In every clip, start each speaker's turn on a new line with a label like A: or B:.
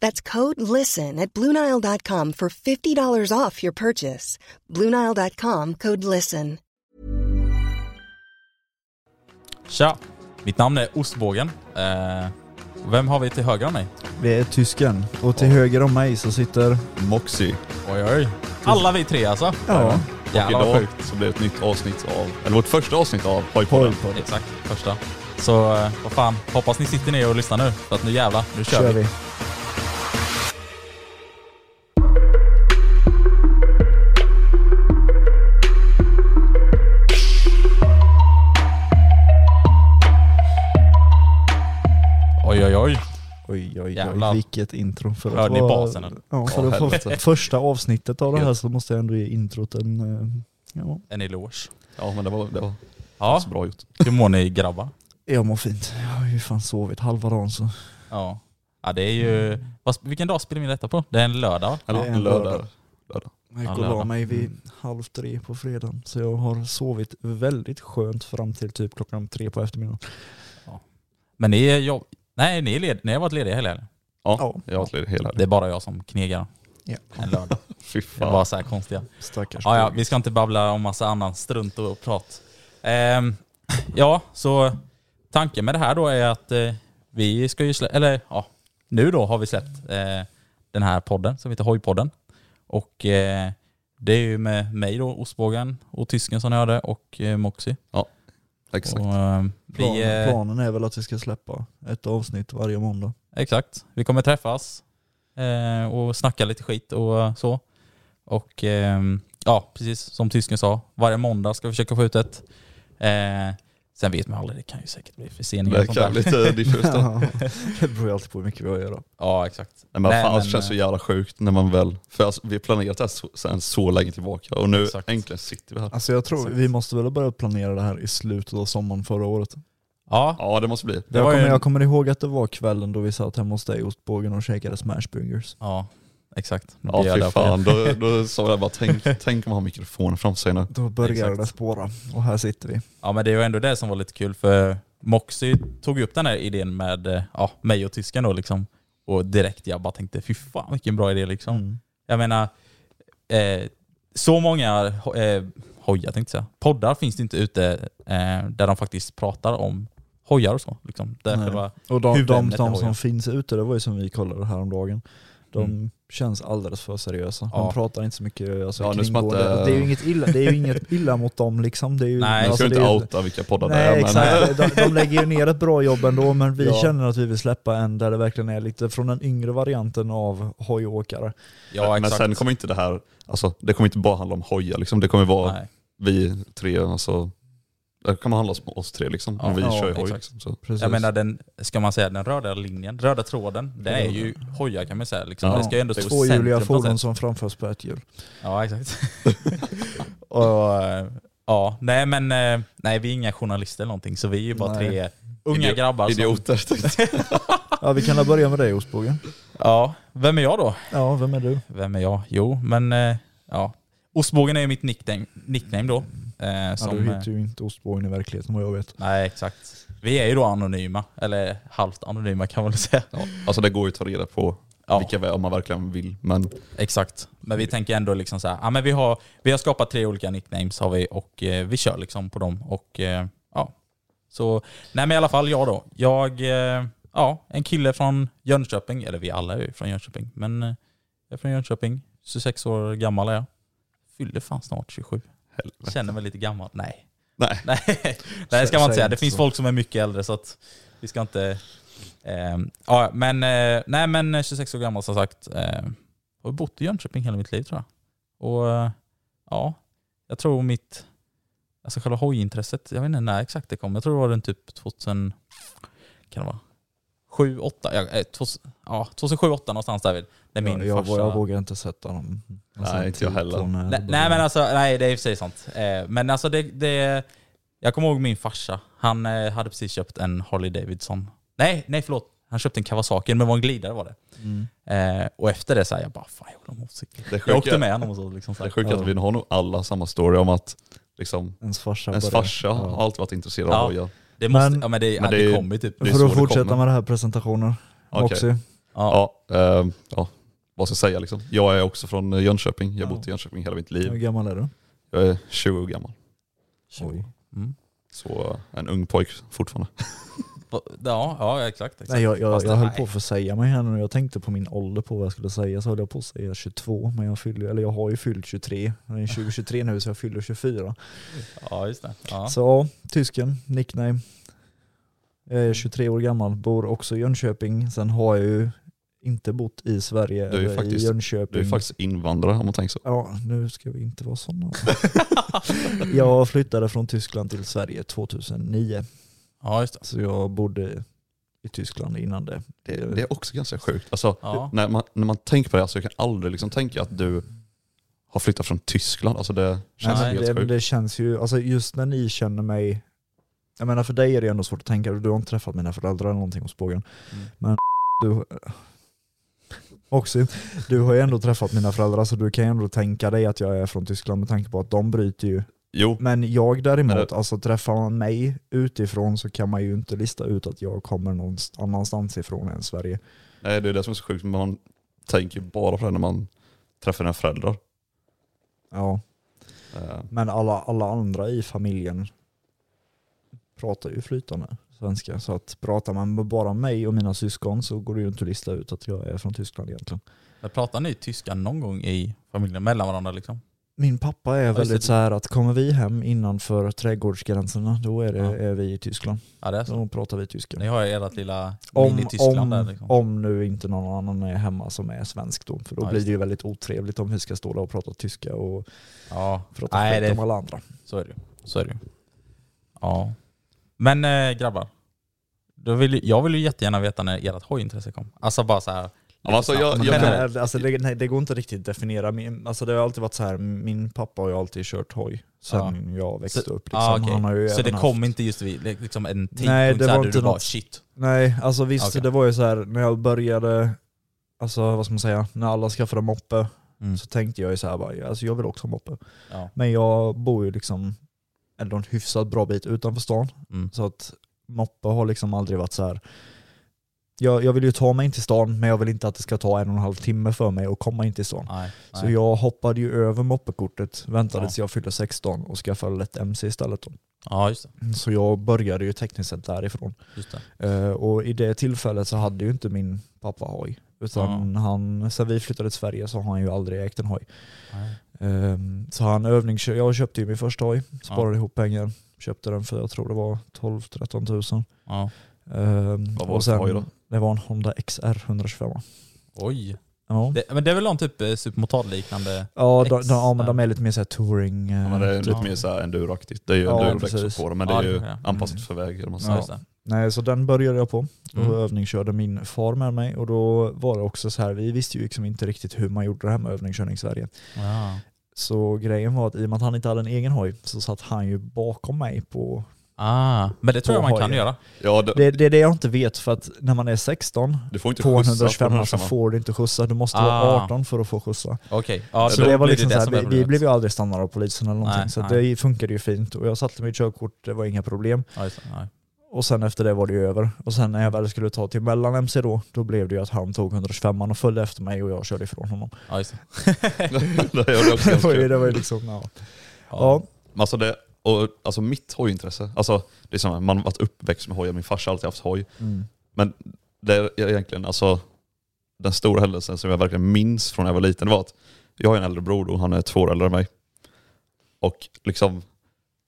A: That's code LISTEN at Bluenile.com for $50 off your purchase. Bluenile.com code LISTEN.
B: Tja, mitt namn är Ostbågen. Eh, vem har vi till höger om mig?
C: Vi är tysken och till höger om mig så sitter...
D: Moxie.
B: Oj oj. Alla vi tre alltså?
C: Ja.
D: Och
B: Jävlar vad
D: idag
B: sjukt.
D: så blir det ett nytt avsnitt av, eller vårt första avsnitt av Hojpodden.
C: Hojpodden.
B: Exakt, första. Så eh, vad fan, hoppas ni sitter ner och lyssnar nu. För att nu jävlar, nu kör, vi. Oj oj oj.
C: Oj, oj,
B: Jävlar.
C: oj. Vilket intro. För
B: Hörde ni
C: vara-
B: basen eller?
C: Ja, för att första, första avsnittet av det här så måste jag ändå ge introt en... eh, Ja,
B: En eloge.
D: Ja men det var, det var
B: Ja,
D: så bra gjort.
B: hur mår ni grabbar?
C: jag mår fint. Jag har ju fan sovit halva dagen så.
B: Ja. Ja det är ju... Vad, vilken dag spelar vi detta på? Det är en lördag va?
D: Eller
C: Det är
D: en
C: en
D: lördag.
C: lördag. Jag gick och
B: Ja,
C: la
B: lördag.
C: mig
B: Mm.
C: vid halv tre på fredagen. Så jag har sovit väldigt skönt fram till typ klockan tre på eftermiddagen.
B: Men ni är jobb... Nej, ni, är led... ni har varit lediga hela helgen.
D: Ja,
C: Ja.
D: jag har varit ledig hela
B: Det är
D: helgen.
B: bara jag som knegar
C: Ja.
B: en lördag.
D: Fy
B: Det är bara
D: fan.
B: så här konstiga.
C: Stackars
B: Ja, ja,
C: pojk.
B: vi ska inte babbla om massa annan strunt och prat. Ehm, ja, så tanken med det här då är att eh, vi ska ju släppa, eller ja, nu då har vi släppt eh, den här podden som heter Hojpodden. Och eh, det är ju med mig då, Ostbågen och tysken som ni hörde och eh, Moxie.
D: Exakt.
B: Och, eh, vi,
C: Planen,
B: eh,
C: planen är väl att vi ska släppa ett avsnitt varje måndag.
B: exakt, vi kommer träffas eh, och snacka lite skit och eh, så. Och ehm, ja, precis som tysken sa, varje måndag ska vi försöka få ut ett. Eh, sen vet man aldrig, det kan ju säkert bli förseningar. och
D: Det
B: sånt
D: kan
B: där.
D: bli lite diffust då. Nej
C: Ja, det beror ju alltid på hur mycket vi har att göra.
B: Ja, exakt.
D: men
B: Nej,
D: fan
B: men,
D: det känns så
B: eh,
D: jävla sjukt när man väl, för alltså, vi har planerat det här så, sen så länge tillbaka och nu
B: Exakt.
D: äntligen sitter vi här.
C: Alltså jag tror
D: Exakt.
C: vi måste väl börja planera det här i slutet av sommaren förra året.
B: Ja,
D: Ja det måste bli.
B: det
C: jag,
B: var ju...
C: kommer,
B: en-
C: jag kommer ihåg att det var kvällen då vi satt hemma hos dig i ostbågen och käkade smashburgers.
B: Ja, exakt. Nu
D: Ja
B: blir jag
D: fy
B: där
D: fan,
B: på-
D: då, då sa jag bara tänk, tänk om man har mikrofonen framför sig nu.
C: Då började
B: Exakt.
C: det spåra och här sitter vi.
B: Ja, men det var ändå det som var lite kul för Moxie tog ju upp den här idén med eh, ja, mig och tysken då liksom. Och direkt jag bara tänkte, fy fan vilken bra idé liksom.
C: Mm.
B: Jag menar, eh, så många ho- eh, hojar tänkte jag säga. Poddar finns det inte ute eh, där de faktiskt pratar om hojar och så. Liksom. Där
C: Nej.
B: själva,
C: Och de, de,
B: Huvudämnet
C: de
B: var ju-
C: som finns ute, det var ju som vi kollade häromdagen, de känns alldeles för seriösa. De
B: Ja.
C: pratar inte så mycket alltså,
D: Ja, nu ska man
C: kringgående.
D: inte-
C: Och Det är ju inget illa, det är ju inget illa mot dem liksom. Det är ju,
B: Nej,
D: Jag
B: alltså,
D: ska
C: det är
D: inte
C: ju-
D: outa vilka poddar det är
C: Nej
D: men
C: exakt, de, de lägger ju ner ett bra jobb ändå men vi
D: Ja.
C: känner att vi vill släppa en där det verkligen är lite från den yngre varianten av hojåkare.
B: ja,
D: men
B: exakt.
D: sen kommer inte det här, alltså, det kommer inte bara handla om hojar liksom. Det kommer vara
B: Nej.
D: vi tre, alltså, det kommer handla om oss tre liksom.
B: Ja,
D: om vi
B: ja,
D: kör i hoj
B: exakt.
D: liksom. Så.
C: Precis.
B: Jag menar den, ska man säga den röda linjen, röda tråden, det är ju hojar kan man säga. Liksom.
D: Ja,
B: det ska ju ändå stå i
C: Tvåhjuliga
B: centrum på något
C: fordon
B: sätt.
C: som framförs på ett hjul.
B: Ja exakt. och, eh, ja, nej men eh, nej, vi är inga journalister eller någonting så vi är ju bara
C: Nej.
B: tre unga
D: Idio-
B: grabbar som...
D: Idioter tänkte jag.
C: Ja vi kan väl börja med dig Ostbågen.
B: Ja, vem är jag då?
C: Ja, vem är du?
B: Vem är jag? Jo, men eh, ja. Ostbågen är ju mitt nickname, nickname då. Eh,
C: Ja,
B: som,
C: du
B: eh,
C: hittar ju typ- inte ostbågen i verkligheten vad jag vet.
B: Nej, exakt. Vi är ju då anonyma, eller halvt anonyma kan man väl säga.
D: Ja, alltså det går ju att ta reda på
B: Ja.
D: vilka vi- om man verkligen vill. Men
B: Exakt. Men vi tänker ändå liksom så här, ja, men vi, har, vi har skapat tre olika nicknames har vi och eh, vi kör liksom på dem. Och eh, ja. Så, nej men i alla fall jag då. Jag, eh, ja, en kille från Jönköping, eller vi alla är ju från Jönköping, men eh, jag är från Jönköping, 26 år gammal är jag. Fyller fan snart 27.
D: helvete.
B: Känner mig lite gammal. Nej.
D: Nej.
B: Nej, Nej det ska
C: Sä-
B: man inte
C: säg
B: säga. Det
C: inte
B: finns
C: så.
B: folk som är mycket äldre så att vi ska inte... ehm, ja, men, eh, nej, men 26 år gammal som sagt. Eh, har bott i Jönköping hela mitt liv tror jag. Och eh, ja, jag tror mitt... Alltså själva hojintresset, jag vet inte när exakt det kom. Jag tror det var den typ 2000... Kan det vara? 7, 8? Ja, eh, 2000 ja 2007, 8 någonstans där vid. När min
C: jag, jag,
B: farsa...
C: jag vågar inte sätta typ eh, dem.
D: Nej, inte jag heller.
B: Nej, nej men alltså, nej det är i och för sig sant. Eh, men alltså det, det... Jag kommer ihåg min farsa. Han eh, hade precis köpt en Harley Davidson. Nej, nej förlåt. Han köpte en Kawasaki, men det var en glidare var det.
C: Mm.
B: Eh, och efter det så här, jag bara, fan jag vill ha en motorcykel.
D: Det är sjukt.
B: Jag åkte med honom och så. Liksom, så
D: Det är
B: här.
D: sjukt att vi har nog alla samma story om att liksom,
C: Ens farsa.
D: ens
C: börjar-
D: farsa har alltid varit intresserad
B: Ja.
D: av hojar.
B: Det måste,
C: Men-
B: ja men det,
D: men
B: ja,
D: det är
B: det
D: ju-
B: kommer ju typ.
D: det är så
C: För
D: det
C: att fortsätta
D: kommer.
C: med det här presentationen.
D: Okej.
C: Oxy.
B: Ja,
D: Ja, ehm, ja, vad ska jag säga liksom? Jag är också från eh, Jönköping, jag har bott i Jönköping hela mitt
B: Typ.
C: Hur
D: liv.
C: gammal är du?
D: Jag är 20 år gammal.
C: Oj.
B: mm.
D: Så eh, en ung pojk fortfarande.
B: ja, ja exakt. exakt.
C: Nej, jag, jag,
B: Fast
C: jag
B: det-
C: höll
B: nej.
C: på att försäga mig här nu. Jag tänkte på min ålder på vad jag skulle säga. Så höll jag på att säga 22, men jag, fyller, eller jag har ju fyllt 23. Jag är 2023 nu så jag fyller 24.
B: Ja just det. Ja.
C: Så ja, tysken, nickname. Jag är 23 år gammal, bor också i Jönköping. Sen har jag ju inte bott i Sverige
D: Du är ju
C: eller
D: faktiskt-
C: i Jönköping.
B: Mm.
D: Du är faktiskt invandrare om man tänker så.
C: Ja, nu ska vi inte vara sådana. jag flyttade från Tyskland till Sverige 2009.
B: ja just det.
C: Så jag bodde i Tyskland innan det.
D: Det, det är också ganska sjukt. Alltså,
B: Ja.
D: när, man, när man tänker på det, alltså, jag kan aldrig liksom tänka att du har flyttat från Tyskland. Alltså, det känns
B: Nej,
D: helt
C: det,
D: sjukt.
C: det känns ju, alltså just när ni känner mig, jag menar för dig är det ändå svårt att tänka, du har inte träffat mina föräldrar eller någonting hos bågen.
B: Mm.
C: Men du, också, du har ju ändå träffat mina föräldrar så du kan ju ändå tänka dig att jag är från Tyskland med tanke på att de bryter ju.
D: Jo,
C: Men jag
D: Men
C: däremot,
D: det-
C: alltså träffar man mig utifrån så kan man ju inte lista ut att jag kommer någon annanstans ifrån än Sverige.
D: nej, det är det som är så sjukt. men Man tänker ju bara på det när man träffar sina föräldrar.
C: Ja.
D: Eh,
C: Men alla, alla andra i familjen pratar ju flytande svenska. Så att pratar man med bara mig och mina syskon så går det ju inte att lista ut att jag är från Tyskland egentligen.
B: Men pratar ni tyska någon gång i familjen mellan varandra liksom?
C: Min pappa är
B: just
C: väldigt
B: det.
C: så här att kommer vi hem innanför trädgårdsgränserna då är, det,
B: Ja.
C: är vi i Tyskland.
B: Ja det är så.
C: Då pratar vi tyska.
B: Ni har ju ert lilla
C: Om,
B: mini-Tyskland där
C: om,
B: liksom.
C: om nu inte någon annan är hemma som är svensk då. För då
B: Ja, just
C: blir det ju väldigt otrevligt om vi ska stå där och prata tyska och
B: Ja.
C: prata
B: Nej,
C: skit
B: det-
C: om alla andra.
B: Så är det ju. Så är det ju. Ja. Men eh, grabbar. Då vill, ju- jag vill ju jättegärna veta när ert hojintresse kom. Alltså bara så här.
D: men alltså, jag,
B: Men
D: jag,
B: den
C: Men,
B: kan-
D: jag,
B: är-
C: eh, alltså, det, nej, det går inte riktigt att definiera. Min, alltså, det har alltid varit så här, min pappa har ju alltid kört hoj sen jag växte upp. Liksom.
B: ah, okej.
C: Han har ju
B: Så
C: även
B: det
C: haft-
B: kom inte just vid li- liksom en tidpunkt
C: Nej, det
B: så här,
C: var
B: där
C: inte
B: du bara
C: något-
B: shit.
C: Nej, alltså visst,
B: Ah, Okej.
C: det var ju så här när jag började, alltså vad ska man säga, när alla skaffade moppe
B: Mm.
C: så tänkte jag ju så här, bara, alltså, jag vill också ha moppe.
B: Ja.
C: Men jag bor ju liksom ändå en hyfsat bra bit utanför stan.
B: Mm.
C: Så att moppe har liksom aldrig varit så här. Jag, jag vill ju ta mig in till stan, men jag vill inte att det ska ta en och en halv timme för mig att komma in till stan.
B: Nej, nej.
C: Så jag hoppade ju över moppekortet, väntade
B: Ja.
C: tills jag fyllde 16 och skaffade lätt MC istället. Då.
B: Ja, just det.
D: Mm.
C: Så jag började ju tekniskt sett därifrån.
B: Just det.
C: Eh, och i det tillfället så hade ju inte min pappa hoj. Utan han, sen vi flyttade till Sverige så har han ju aldrig ägt en hoj.
B: Nej.
C: Eh, så han övningskör, jag köpte ju min första hoj, sparade ihop pengar, köpte den för jag tror det var 12-13 tusen. Ehm,
B: Ja.
D: Vad var det för hoj då?
C: Det var en Honda XR 125.
B: Oj.
C: Ja.
B: Det, men det är väl någon typ eh, supermotardliknande...
C: Ja, de, de,
B: X-
C: ja, men de är lite mer såhär touring. eh,
D: ja, men det är
C: typ.
D: lite mer så här enduroaktigt. Det är ju
C: Ja,
D: endurodäck
C: precis.
D: på det, men det
B: Ja,
D: är ju
B: det är det.
D: anpassat
C: Mm.
D: för väg. Eller vad man
B: Ja,
D: säger.
B: just det.
C: Nej, så den började jag på. Och
B: Mm.
C: övningskörde min far med mig. Och då var det också så här, vi visste ju liksom inte riktigt hur man gjorde det här med övningskörning i Sverige.
B: Ja.
C: Så grejen var att i och med att han inte hade en egen hoj så satt han ju bakom mig på
B: Ah, men det tror jag
C: Två
B: man kan
C: hojar.
B: göra.
D: Ja, det,
C: Det, det är det jag inte vet för att när man är 16
D: du får inte
C: på en
D: skjutsas på
C: 125 så
D: 125.
C: får du inte skjussa. Du måste
B: Ah.
C: vara 18 för att få skjussa.
B: Okej. Ja,
C: så
B: då
C: det var
B: blir
C: liksom
B: det
C: så här,
B: som är
C: vi, vi
B: problemet.
C: blev ju aldrig stannade av polisen eller någonting
B: Nej,
C: så att
B: nej.
C: det funkade ju fint och jag satte mitt körkort, det var inga problem.
B: Ja, just det. Nej.
C: Och sen efter det var det ju över. Och sen när jag väl skulle ta till mellan MC då, då blev det ju att han tog 125 och följde efter mig och jag körde ifrån honom.
B: Ja, just det.
D: det är också
C: det, var ju,
D: ganska-
C: det var ju liksom, ja.
B: Ja.
C: ja.
D: Men Alltså, det, och, alltså mitt hojintresse, alltså, det är som, man har varit uppväxt med hojar, min farsa har alltid haft hoj.
C: Mm.
D: Men det är egentligen alltså den stora händelsen som jag verkligen minns från när jag var liten var att jag har en äldre bror och han är två år äldre än mig. Och liksom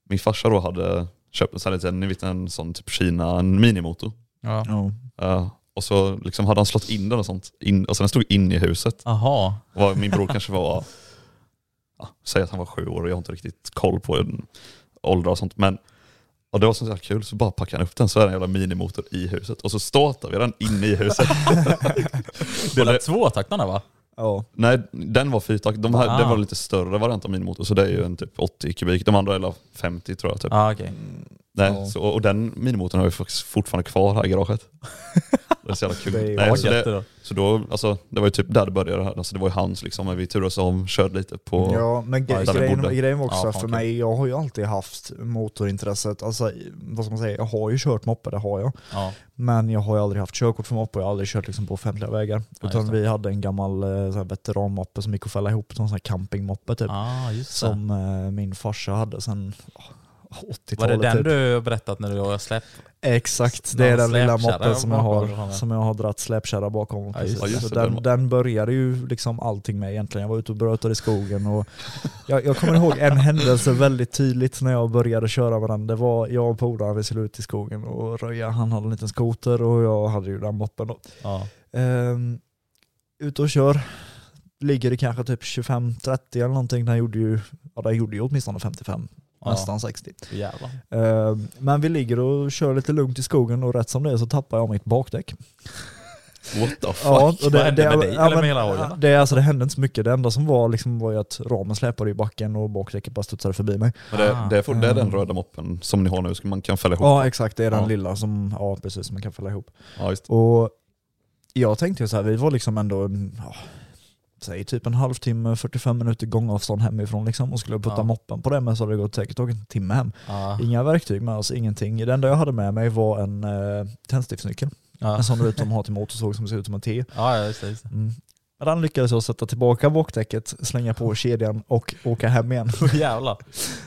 D: min farsa då hade köpt en sån här liten, ni vet en sån typ Kina, en minimotor.
B: Ja.
C: Ja.
D: Eh, och så liksom hade han slått in den och sånt. In, alltså den stod in i huset.
B: Aha.
D: Och vad min bror kanske var, ja, säg att han var sju år och jag har inte riktigt koll på den ålder och sånt. Men och det var så jävla kul så bara packade han upp den så är det en jävla minimotor i huset. Och så startade vi den inne i huset.
B: Det
D: Och
B: är
D: det-
B: tvåtaktarna va?
C: ja.
D: Nej, den var fyrtakt. De här,
B: Ah.
D: Den var lite större variant av minimotor, så det är ju en typ 80 kubik. De andra är la 50 tror
C: Ah.
D: jag. Typ.
B: Ja, Ah, okej.
D: Nej,
C: Ja.
D: så, och den minimotorn har vi faktiskt fortfarande kvar här i garaget. Det är så jävla kul.
C: Det är ju
D: Nej, så,
B: Ja, gött
D: det,
B: det då.
D: så då, alltså, det var ju typ där det började. här. Alltså, det var ju hans liksom, men vi turades om, körde lite på...
C: Ja, men
D: Ja,
C: gre-
D: där vi bodde.
C: grejen, grejen var
B: Ja,
C: också
B: fan,
C: för
B: kul.
C: mig, jag har ju alltid haft motorintresset. Alltså, i- vad ska man säga, jag har ju kört moppe, det har jag.
B: Ja.
C: Men jag har ju aldrig haft körkort för moppe, jag har aldrig kört liksom, på offentliga vägar.
B: just
C: Utan
B: det.
C: vi hade en gammal eh, så här veteranmoppe som gick att fälla ihop, till en sån här campingmoppe typ.
B: Ah, just det.
C: Som eh, min farsa hade sen åh, 80-talet.
B: Var det den
C: typ.
B: du har berättat när du har släppt?
C: Exakt,
B: Någon
C: det är den lilla
B: släpkärra
C: moppen som jag
B: bakom den här.
C: har, som jag har dratt släpkärra bakom.
B: Ja, just
C: precis.
D: det. Ja, just
C: Så
D: det,
C: den,
D: den-
C: den började ju liksom allting med egentligen. Jag var ute och brötade i skogen och jag, jag kommer ihåg en händelse väldigt tydligt när jag började köra med den. Det var jag och polaren, vi skulle ut i skogen och röja. Han hade en liten skoter och jag hade ju den moppen då.
B: Ja.
C: Um, ute och kör. Ligger det kanske typ 25-30 eller någonting. Den gjorde ju, ja, den gjorde ju åtminstone 55,
B: Ja.
C: nästan 60.
B: Jävlar.
C: Eh, Men vi ligger och kör lite lugnt i skogen och rätt som det är så tappar jag mitt bakdäck.
D: What the fuck?
C: och
B: Vad hände med dig? Eller med hela hojen?
C: det, alltså, det hände inte så mycket. Det enda som var, liksom, var ju att ramen släpade i backen och bakdäcket bara studsade förbi mig.
D: Men det, det, är, for- det är den
C: Mm.
D: röda moppen som ni har nu, så man kan fälla ihop.
C: Ja exakt, det är den
D: Ja.
C: lilla som ja, precis, som man kan fälla ihop.
D: Ja, just.
C: Och jag tänkte ju så här, vi var liksom ändå mm, ja, säg typ en halvtimme, 45 minuter gångavstånd hemifrån liksom, och skulle putta
B: Ja. Ah.
C: moppen på det men så hade det gått säkert tagit en timme hem.
B: Ja.
C: Inga verktyg med oss, ingenting. Det enda jag hade med mig var en eh, tändsticksnyckel.
B: Ja.
C: En sån ut de har till motorsåg som ser ut som en T.
B: ja, ja, just det. Just det.
C: Mm. Men Den lyckades jag sätta tillbaka bakdäcket, slänga på kedjan och åka hem igen.
B: Åh, Jävlar.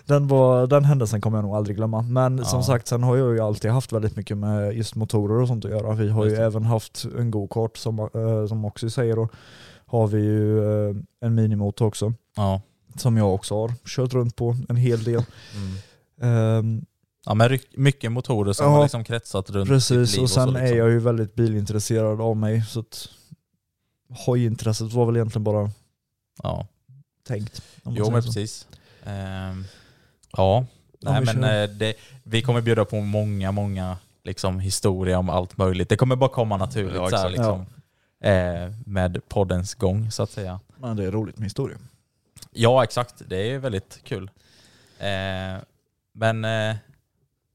C: Den, var, den händelsen kommer jag nog aldrig glömma. Men
B: Ja.
C: som sagt, sen har jag ju alltid haft väldigt mycket med just motorer och sånt att göra. Vi har ju
B: Just det.
C: även haft en go-kart som, eh, som också säger och har vi ju eh, en minimotor också
B: Ja.
C: som jag också har kört runt på en hel del.
B: Mm.
C: Ehm,
B: Ja men ryck- mycket motorer som
C: Ja.
B: har liksom kretsat runt ditt
C: Precis,
B: liv
C: och sen
B: så, liksom.
C: är jag ju väldigt bilintresserad av mig så att hojintresset var väl egentligen bara
B: Ja.
C: tänkt. om man
B: Jo
C: säger
B: men
C: så.
B: precis. Ehm, ja. Nej,
C: vi
B: men
C: kör.
B: eh, det, vi kommer bjuda på många, många liksom, historier om allt möjligt. Det kommer bara komma naturligt
D: Ja,
B: så här,
D: exakt.
B: liksom, eh, med poddens gång så att säga.
C: Men det är roligt med historia.
B: Ja, exakt. Det är väldigt kul. Eh, men eh,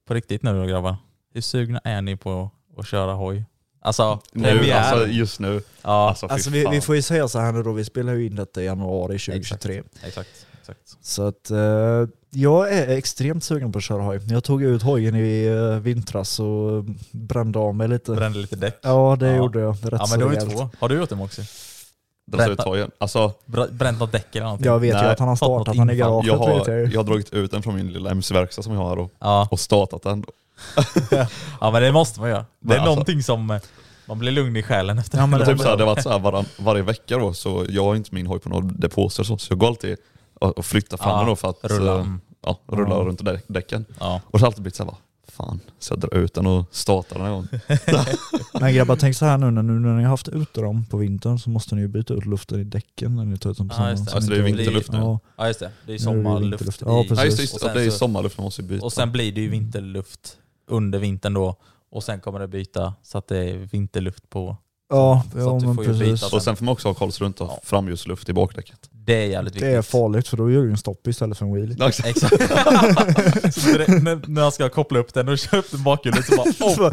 B: på riktigt nu då grabbar. Hur sugna är ni på att köra hoj? Alltså
D: Nu,
B: premiär.
D: alltså, just nu.
B: ja,
D: Alltså, fy
C: Alltså vi,
D: fan.
C: vi får ju säga så här nu då, vi spelar ju in detta i januari 2023.
B: exakt. exakt.
C: Så att eh, jag är extremt sugen på att köra hoj. Jag tog ut hojen i eh, vintras och eh, brände av mig lite.
B: Brände lite däck.
C: Ja det
B: Ja.
C: gjorde jag. Rätt
B: Ja
C: så
B: men då är vi
C: rejält.
B: två. Har du gjort det också?
D: Den ser ut
B: Berätta.
D: tagen. Alltså,
B: Br- Bränt något däck eller någonting?
C: Jag vet ju
D: Nej.
C: att han har
B: Fått något
C: startat den i
B: infall.
C: garaget
D: jag,
C: vet
D: har,
C: jag ju.
D: jag har dragit ut den från min lilla MC-verkstad som jag har och,
B: Ja.
D: och startat den.
B: ja men det måste man göra. Det är
D: Men alltså-
B: någonting som eh, man blir lugn i själen efter.
C: Ja, men
D: Men
C: det-
D: typ såhär, det har varit såhär varan, varje vecka då, så jag har inte min hoj på någon depåser så, så jag går alltid och och flyttar fram
B: Ja,
D: den då för att
B: rulla,
D: eh,
B: mm.
D: Ja, rulla
C: Ja.
D: runt dä- däcken.
B: Ja.
D: Och så har det alltid blivit såhär, va, fan, så jag drar ut den och startar den en gång.
C: Men grabbar tänk så här nu när, nu när ni har haft ut dem på vintern så måste ni ju byta ut luften i däcken när ni tar ut dem på
B: Ja,
C: sommaren.
B: just det.
C: Så
D: Alltså,
C: ni
D: det är
C: inte-
D: vinterluft nu.
C: Ja,
B: ja just det, det är ju
C: Nu är det
B: sommarluft.
C: vinterluft.
B: i-
C: Ja, precis.
D: Ja just det, just
B: Och
D: det,
B: sen
D: det är ju
B: så-
D: sommarluft man måste byta.
B: Och sen blir det ju vinterluft under vintern då. Och sen kommer det byta så att det är vinterluft på
C: Ja,
B: Så att
C: ja
B: du
C: men
B: får ju byta
C: precis.
B: så-
D: Och sen får man också ha kolsrunt och
B: Ja.
D: framljusluft i bakdäcket.
B: Det är jävligt viktigt.
C: Det är farligt för då gör du en stopp istället för en wheelie.
B: Exakt. så direkt, när, när jag ska koppla upp den och köra upp den bakhjulet så bara oh,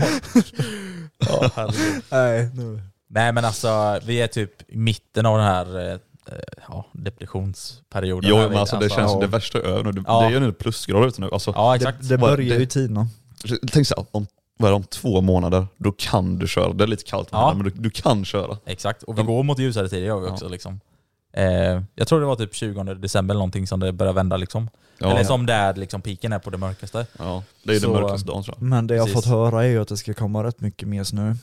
B: oh, herregud.
C: Nej, nu.
B: Nej men alltså vi är typ i mitten av den här eh, eh, ja, depressionsperioden.
D: Jo
B: här,
D: men alltså det känns
B: ja.
D: som det värsta är över nu. Det,
B: Ja.
D: det är ju nu plusgrader ute nu. Alltså,
B: Ja
C: Det,
B: exakt.
C: det
D: Vad-
C: börjar
D: det-
C: ju tina.
D: Tänk såhär, om, vad är det, om två månader, då kan du köra. Det är lite kallt
B: Ja.
D: men du, du kan köra.
B: Exakt, och vi går mot ljusare tider gör vi också.
D: Ja.
B: Liksom. Eh, jag tror det var typ 20 december eller någonting som det börjar vända. Liksom.
D: Ja.
B: Eller som där liksom, piken är på det mörkaste.
D: Ja, det är
B: Så,
D: den mörkaste dagen tror jag.
C: Men det jag
B: Precis.
C: fått höra är ju att det ska komma rätt mycket mer snö.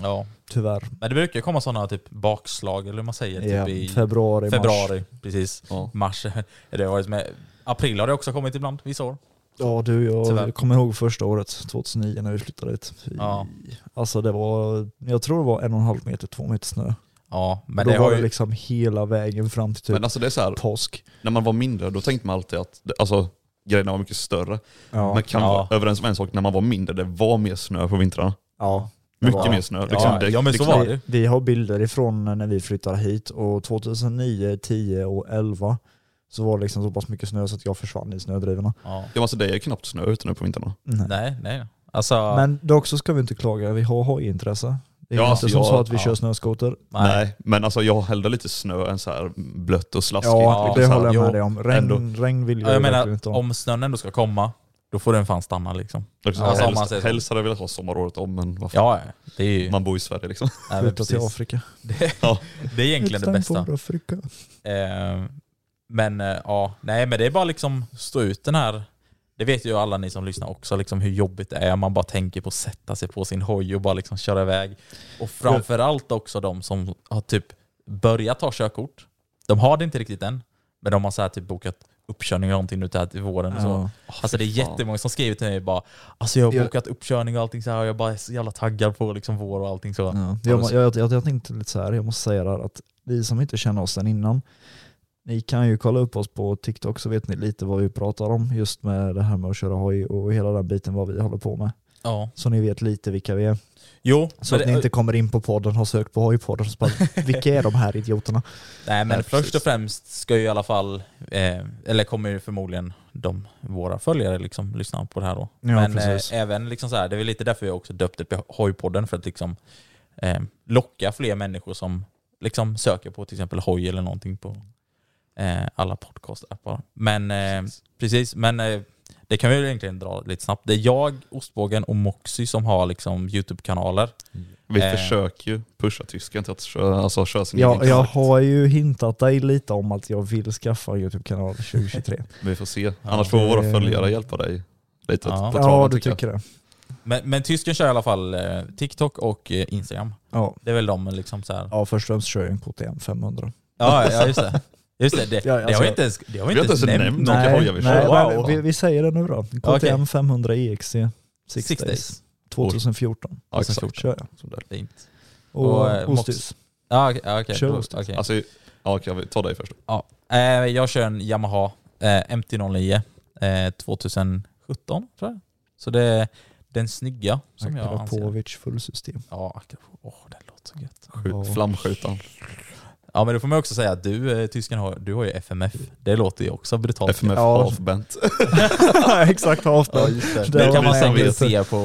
B: Ja.
C: Tyvärr.
B: Men det brukar ju komma sådana typ bakslag eller hur man säger. Typ
C: Ja,
B: i
C: februari, mars.
B: februari. Precis.
D: Ja.
B: Mars. Det har varit med. April har det också kommit ibland vissa
C: Mm.
B: år.
C: Ja du, jag
B: Tyvärr.
C: kommer ihåg första året, 2009 när vi flyttade hit. Fy.
B: Ja.
C: Alltså det var, jag tror det var en och en halv meter, två meter snö.
B: Ja, men
C: Men då
B: det
C: det var
B: har
C: det
B: ju...
C: liksom hela vägen fram till typ
D: Men alltså det är så här,
C: påsk.
D: när man var mindre då tänkte man alltid att det- alltså, grejerna var mycket större.
C: Ja,
D: man kan
B: ja.
D: vara överens om en sak, när man var mindre det var mer snö på vintrarna.
C: ja. det
D: Mycket
C: var-
D: mer snö.
B: Ja,
D: Liksom, det,
B: ja, men så
D: liksom,
B: var det ju.
C: Vi har bilder ifrån när vi flyttade hit och 2009, 10 och 11 så var det liksom så pass mycket snö så att jag försvann i snödrivorna.
B: Ja.
D: Ja, men alltså, det är knappt snö ute nu på vintrarna.
C: Nej.
B: Nej, nej. Alltså,
C: Men dock så ska vi inte klaga, vi har hojintresse. Det är
D: Ja,
C: ju
D: alltså
C: inte som
D: jag-
C: så att vi
B: ja.
C: kör snöskoter.
B: nej.
D: Nej. men alltså jag hellre lite snö än så här blött och slaskigt.
C: Ja,
D: liksom
C: det
D: så här.
C: håller jag
B: jo,
C: med dig om. Regn,
D: ändå.
C: regn vill jag,
B: Ja, jag
C: ju verkligen
B: menar,
C: inte ha.
B: om snön ändå ska komma, då får den fan stanna liksom.
D: Liksom,
B: Ja, som man
D: helst,
B: säger så.
D: helst hade jag velat ha sommaråret om, men vad fan.
B: Ja, ja. det är ju...
D: Man bor i Sverige liksom.
B: nej, men
C: Flytta till
B: precis.
C: Afrika.
B: Det,
D: Ja.
B: det är egentligen det bästa.
C: Utanför Afrika.
B: Eh, men eh, ja, nej men det är bara liksom stå ut den här. Det vet ju alla ni som lyssnar också liksom hur jobbigt det är. Man bara tänker på att sätta sig på sin hoj och bara liksom köra iväg. Och framförallt också de som har typ börjat ta körkort. De har det inte riktigt än, men de har så här typ bokat uppkörning och någonting nu till här till våren och så.
C: Ja.
B: Alltså det är jättemånga som skriver till mig bara Alltså jag har
C: Jag-
B: bokat uppkörning och allting så här och jag bara är så jävla taggad på liksom vår och allting så.
C: Ja.
B: Ja,
C: Jag,
B: det-
C: jag, jag, jag, jag tänkte lite så här, jag måste säga det här, att vi som inte känner oss sen innan, ni kan ju kolla upp oss på TikTok så vet ni lite vad vi pratar om just med det här med att köra hoj och hela den biten vad vi håller på med.
B: Ja.
C: Så ni vet lite vilka vi är.
B: Jo,
C: Så att ni inte kommer in på podden, har sökt på hojpodden och så bara, vilka är de här idioterna?
B: Nej men
D: Nej,
B: först
D: precis.
B: och främst ska ju i alla fall, eh, eller kommer ju förmodligen de, våra följare liksom lyssna på det här då.
C: Ja,
B: men
C: precis.
B: eh, även liksom så här, det är väl lite därför jag också döpte det till hojpodden för att liksom eh, locka fler människor som liksom söker på till exempel hoj eller någonting på eh, alla podcastappar. Men eh, precis, men eh, det kan vi väl egentligen dra lite snabbt. Det är jag, Ostbågen och Moxie som har liksom YouTube-kanaler.
D: Vi
B: Eh.
D: försöker ju pusha tysken till att köra, alltså, köra sin
C: Jag,
D: egen
C: jag
D: kontakt.
C: har ju hintat dig lite om att jag vill skaffa en YouTube-kanal 2023.
D: Vi får se. Annars får
C: det-
D: våra följare hjälpa dig lite
B: Ja.
D: på traven
C: ja, du
D: tycker jag.
C: tycker det.
B: Men, men tysken kör i alla fall eh, TikTok och eh, Instagram.
C: Ja.
B: Det är väl de liksom så här.
C: ja, först och främst kör jag en KTM 500.
B: Ja, ja just det. Just det, det,
C: Ja,
B: det har
C: alltså-
B: vi inte ens, det har vi
D: Vi har
B: inte ens nämnt.
D: Hur många hojar
C: nej,
D: vi kör?
C: men
D: Wow.
C: vi, vi säger det nu då. KTM
B: Okej.
C: 500 EXC 6
B: Six days.
C: 2014.
D: Ja, exakt.
C: Alltså, Kör jag.
D: Sådär.
B: Fint.
C: Och,
B: Och, eh,
C: och
B: Mox.
C: ostys.
B: Ja, okej. ja, okej.
C: Kör
B: Då-
C: oss dit.
B: okej.
D: Alltså, ja, okej, vi tar dig först.
B: ja. Eh, Jag kör en Yamaha eh, MT-09 eh, 2017 tror jag. Så det är den snygga som jag anser.
C: Akrapovic fullsystem.
B: Ja, Akrapovic. Åh, det låter så gött.
D: Skjut, Flamskjutan.
B: Ja, men det får man också säga att du, eh, tysken, har, du har ju FMF. Det låter ju också brutalt.
D: FMF
C: Ja.
D: Halfbent.
C: Exakt,
B: Ja,
C: avstånd.
B: just det.
C: Det
B: Det
C: var
B: kan man
C: det jag
B: säkert
C: visste.
B: se på...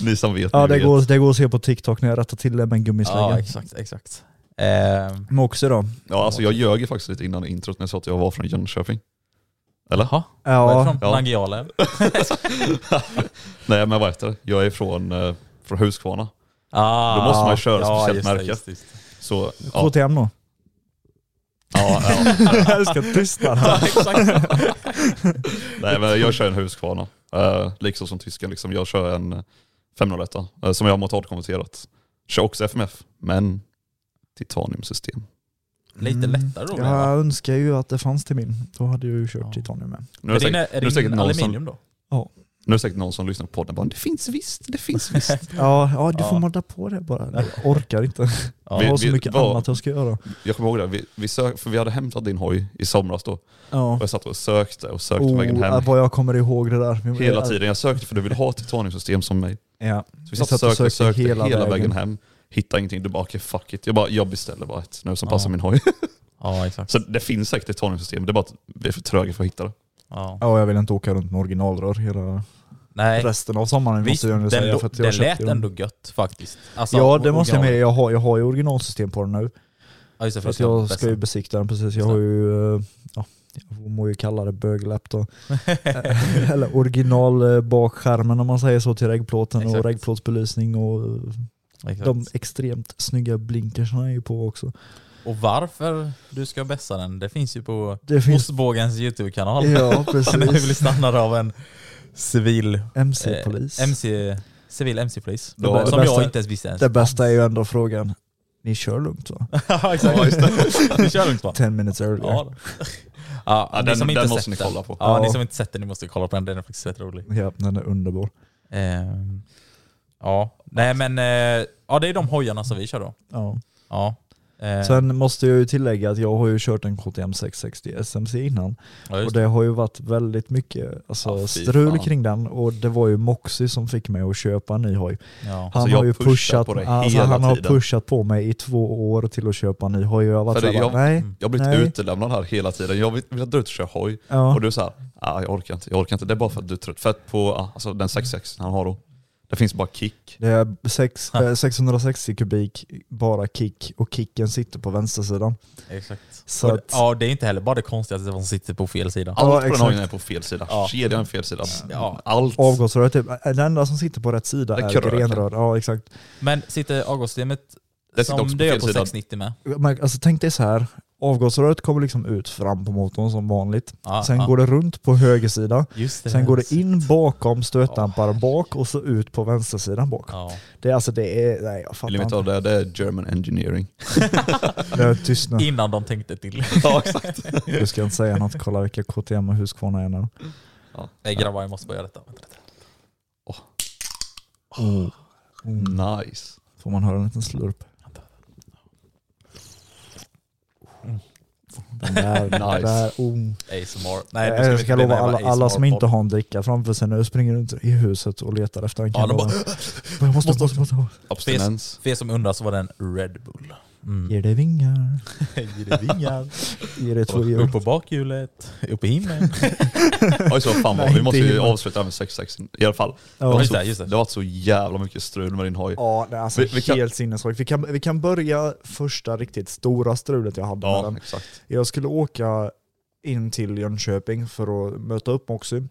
B: eh,
D: Ni som vet,
C: Ja,
D: ni
C: det
D: vet.
C: går, det går att se på TikTok när jag rättar till det med en
B: Ja,
C: gummislägga.
B: exakt, exakt. Eh,
C: Moxie då?
D: Ja, alltså jag ljög ju faktiskt lite innan introt när jag sa att jag var från Jönköping. Eller?
B: Jaha,
C: Ja,
B: varifrån?
D: Ja.
B: Langeala?
D: Nej men vad heter det? Jag är från, eh, från Huskvarna.
B: Ah,
D: Då måste man ju köra speciellt
B: just det,
D: märke.
B: just det, just det.
D: Så ja,
C: KTM då?
D: ja, ja.
C: Jag älskar tystnad här.
D: Nej men jag kör en Huskvarna. Eh, liksom som tysken, liksom. jag kör en 501 eh, som jag har motardkonverterat. Kör också FMF, men titaniumsystem.
B: Lite lättare då. menar jag.
C: Mm. Jag önskar ju att det fanns till min. Då hade jag ju kört
B: Ja.
C: titanium med.
D: Nu är, det
B: Är din,
D: säkert,
B: är
D: nu, är det
B: din
D: säkert någon som,
B: aluminium då?
D: nu är det säkert någon som lyssnar på podden och bara det finns visst, det finns visst.
C: Ja, ja du får
B: Ja.
C: modda på det bara. Jag orkar inte.
B: Ja.
C: Jag har
D: Vi-
C: så
D: vi-
C: mycket
D: vad-
C: annat jag ska göra.
D: Jag kommer ihåg det, vi, vi, sök, för vi hade hämtat din hoj i somras då. Och
C: Ja.
D: jag satt och sökte och sökte
C: Oh,
D: vägen hem.
C: vad jag kommer ihåg det där. Jag-
D: Hela tiden. Jag sökte för du vill ha ett titaniumsystem som mig.
C: Ja.
D: Så vi satt och sökte och sökte hela, vägen hem. Hittade ingenting, du bara okej fuck it. Jag, bara, jag beställer bara ett nu som
B: Ja.
D: passar min hoj.
B: Ja, exakt.
D: Så det finns säkert ett torgningssystem, det är bara att vi är för tröga för att hitta det.
B: Ja.
C: Ja, jag vill inte åka runt med originalrör hela
B: Nej,
C: resten av sommaren.
B: visst.
C: måste jag
B: Den,
C: ändå säga,
B: lo-
C: för att jag
B: den
C: köpte
B: lät
C: ju den.
B: ändå gött faktiskt. Alltså,
C: ja, det måste jag med.
B: original.
C: Jag har, jag har ju originalsystem på den nu.
B: Ja, just det,
C: För att
B: det
C: jag
B: var
C: ska ju
B: bäst.
C: besikta den precis. Jag har ju, eh, ja, jag må ju kalla det böglapp då. Eh, Eller original eh, bakskärmen om man säger så till regplåten och
B: Exakt.
C: regplåtsbelysning och eh,
B: Exakt.
C: de extremt snygga blinkersna är ju på också.
B: Och varför du ska bässa den, det finns ju på
C: Det finns...
B: Ostbågens YouTube-kanal.
C: Ja,
B: Om du blir
C: precis.
B: stannad av en civil eh,
C: MC-polis.
B: MC, civil MC-polis.
D: Det bästa-
B: Som
C: det
B: jag
C: bästa-
B: inte ens visste ens.
C: Det bästa är ju ändå frågan, ni kör lugnt va?
B: ja, exakt.
D: Ja, just
B: det. Vi kör lugnt va?
C: 10 minutes earlier.
B: Ja. Ja,
D: Ja,
B: ni
D: den-
B: som inte
D: den
B: sett
D: måste ni kolla på.
B: Ja,
C: Ja.
B: ni som inte sett den, ni måste kolla på den. Den är faktiskt rätt rolig.
C: Ja, den är underbar.
B: Ehm, ja, nej men eh, ja, det är de hojarna som vi kör då.
C: Ja.
B: Ja. Eh,
C: Sen måste jag ju tillägga att jag har ju kört en KTM 660 SMC innan.
B: ja, just
C: Och
B: det.
C: det har ju varit väldigt mycket alltså,
D: Ja, fy
C: strul
D: fan.
C: kring den och det var ju Moxie som fick mig att köpa en ny hoj.
B: Ja.
C: Han
D: Alltså, jag
C: har ju
D: pushar
C: pushat,
D: på dig
C: alltså,
D: hela
C: han har
D: tiden.
C: pushat på mig i två år till att köpa en ny hoj och jag har varit
D: För det-
C: såhär,
D: jag- mm,
C: nej.
D: Jag har blivit
C: Nej.
D: utelämnad här hela tiden. Jag vill, vill att du inte kör hoj.
C: Ja.
D: Och du är såhär, ah, jag orkar inte, jag orkar inte. Det är bara för att du är trött. För att på ah, alltså, den 66 han har då, det finns bara kick.
C: Det är sex, eh, 660 kubik, bara kick och kicken sitter på vänstersidan.
B: Exakt.
C: Så
B: Och-
C: att-
B: Ja, det är inte heller bara det konstigaste som sitter på fel sida.
C: Ja,
D: Allt på den
C: exakt.
D: hojen är på fel sida.
B: Ja.
D: Kedjan är på fel sida.
B: Ja.
D: Allt.
C: Avgasröret, typ, eh, det enda som sitter på rätt sida
D: Det är
C: är
D: kröken.
C: grenrör. Ja, exakt.
B: Men sitter avgassystemet
D: Det sitter också
B: som
D: på
B: det gör
D: fel
B: på
D: sida.
B: 690 med?
C: Men, alltså, tänk dig så här. avgasröret kommer liksom ut fram på motorn som vanligt.
B: Ja,
C: Sen
B: ja.
C: går det runt på höger sida.
B: Just det.
C: Sen går det in bakom stötdamparen bak och så ut på vänstersidan bak.
B: Ja.
C: Det är alltså det är, nej jag fattar
D: Vill ni veta
C: inte.
D: vad det är? Det är German engineering.
C: Det är tyst nu.
B: Innan de tänkte till.
D: ja exakt.
C: Du ska inte säga något, kolla vilka KTM och Husqvarna är nu.
B: Nej grabbar, jag måste bara göra detta. Vänta lite.
C: Mm.
D: Nice.
C: Får man höra en liten slurp. Den där, den
D: Nice.
C: där, oh.
B: ASMR. Nej, nu
C: Jag
B: vi
C: ska
B: bli
C: lova
B: en
C: alla,
B: jävla
C: alla som inte
B: ASMR-podd.
C: har en dricka framför sig nu springer runt i huset och letar efter en.
B: Ja, de
C: kan jag lova. jag måste, måste, måste, måste.
D: "Äh!" Abstinens.
B: För er som undrar så var den Red Bull. Mm.
C: Ger det vingar,
B: Ger det vingar.
C: ger det två hjul.
B: Upp på bakhjulet, upp i himlen.
D: Oj så fan vad,
C: Nej,
D: vi
C: inte
D: måste ju
C: himlen.
D: avsluta här med 6-6 i alla fall.
C: Ja.
D: det, var
B: Just
D: så,
B: det, just det.
D: har varit så jävla mycket strul med din hoj.
C: Ja, det är alltså
D: Vi- vi kan-
C: helt sinnessjukt. Vi kan, vi kan börja första riktigt stora strulet jag hade med
D: Ja,
C: den.
D: exakt.
C: Jag skulle åka in till Jönköping för att möta upp Moxie.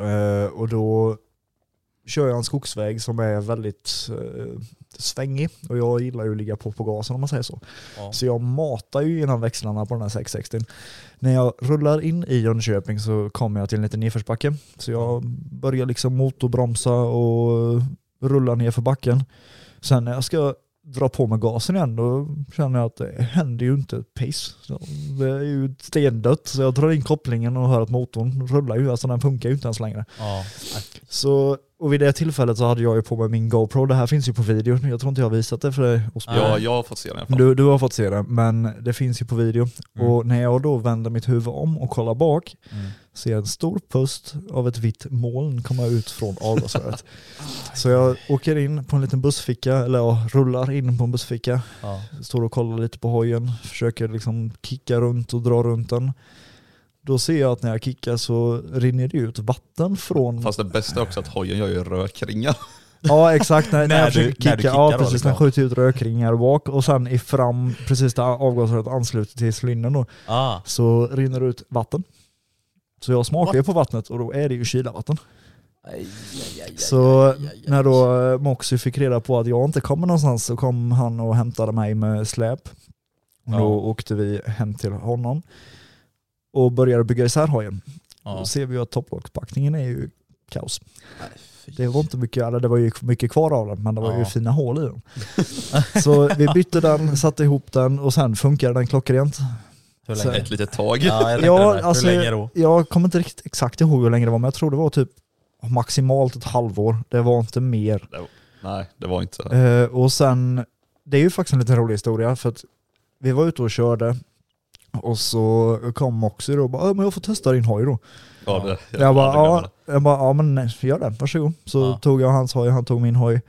C: Eh, och då kör jag en skogsväg som är väldigt eh, svängig och jag gillar ju att ligga på på gasen om man säger så.
B: Ja.
C: Så jag matar ju genom växlarna på den här 660. När jag rullar in i Jönköping så kommer jag till en liten nedförsbacke. Så jag börjar liksom motorbromsa och rulla ner för backen. Sen när jag ska dra på med gasen igen då känner jag att det händer ju inte ett piss. Så Det är ju stendött så jag drar in kopplingen och hör att motorn rullar ju, alltså den funkar ju inte ens längre.
B: Ja.
C: Så, och vid det tillfället så hade jag ju på mig min GoPro, det här finns ju på video, jag tror inte jag har visat det för dig Osby.
D: Ja, jag har fått se den i alla fall.
C: Du, du har fått se det, men det finns ju på video.
B: Mm.
C: Och när jag då vänder mitt huvud om och kollar bak
B: Mm.
C: ser jag en stor pust av ett vitt moln komma ut från avgasröret. så jag åker in på en liten bussficka, eller ja, rullar in på en bussficka,
B: Ja.
C: står och kollar lite på hojen, försöker liksom kicka runt och dra runt den. Då ser jag att när jag kickar så rinner det ut vatten från...
D: Fast det bästa är också att hojen gör ju rökringar.
C: Ja exakt, när, när,
B: När
C: jag
B: du-
C: försöker kicka.
B: när du kickar
C: ja
B: då,
C: precis,
B: liksom.
C: den skjuter ut rökringar bak och sen i fram, precis där avgasröret ansluter till cylindern då,
B: Ah.
C: så rinner det ut vatten. Så jag smakar ju på vattnet och då är det ju kylavatten.
B: Aj, aj, aj, aj,
C: Så
B: aj, aj, aj.
C: när då eh, Moxie fick reda på att jag inte kommer någonstans så kom han och hämtade mig med släp. Och
B: Ja.
C: då åkte vi hem till honom och började bygga isär hojen.
B: Ja.
C: Då ser vi ju att topplockpackningen är ju kaos.
B: Nej, fy.
C: Det var inte mycket, eller det var ju mycket kvar av den, men det var ju
B: Ja.
C: fina hål i den. Så vi bytte den, satte ihop den och sen funkade den klockrent.
B: Hur
C: så-
B: länge?
D: Ett litet tag.
B: Ja, jag tänkte
C: Ja,
B: det där.
C: alltså-
B: Hur länge då?
C: Jag kommer inte riktigt exakt ihåg hur länge det var, men jag tror det var typ maximalt ett halvår. Det var inte mer.
D: Nej, det var inte
C: Eh, och sen, det är ju faktiskt en liten rolig historia, för att vi var ute och körde och så kom Moxie då och bara "Ja, men jag får testa din hoj då.
D: Ja, det,
C: Jag, bara,
D: aldrig glömmer
C: ja, jag bara, ja men nej, gör det, varsågod. Så
B: Ja.
C: tog jag hans hoj, han tog min hoj.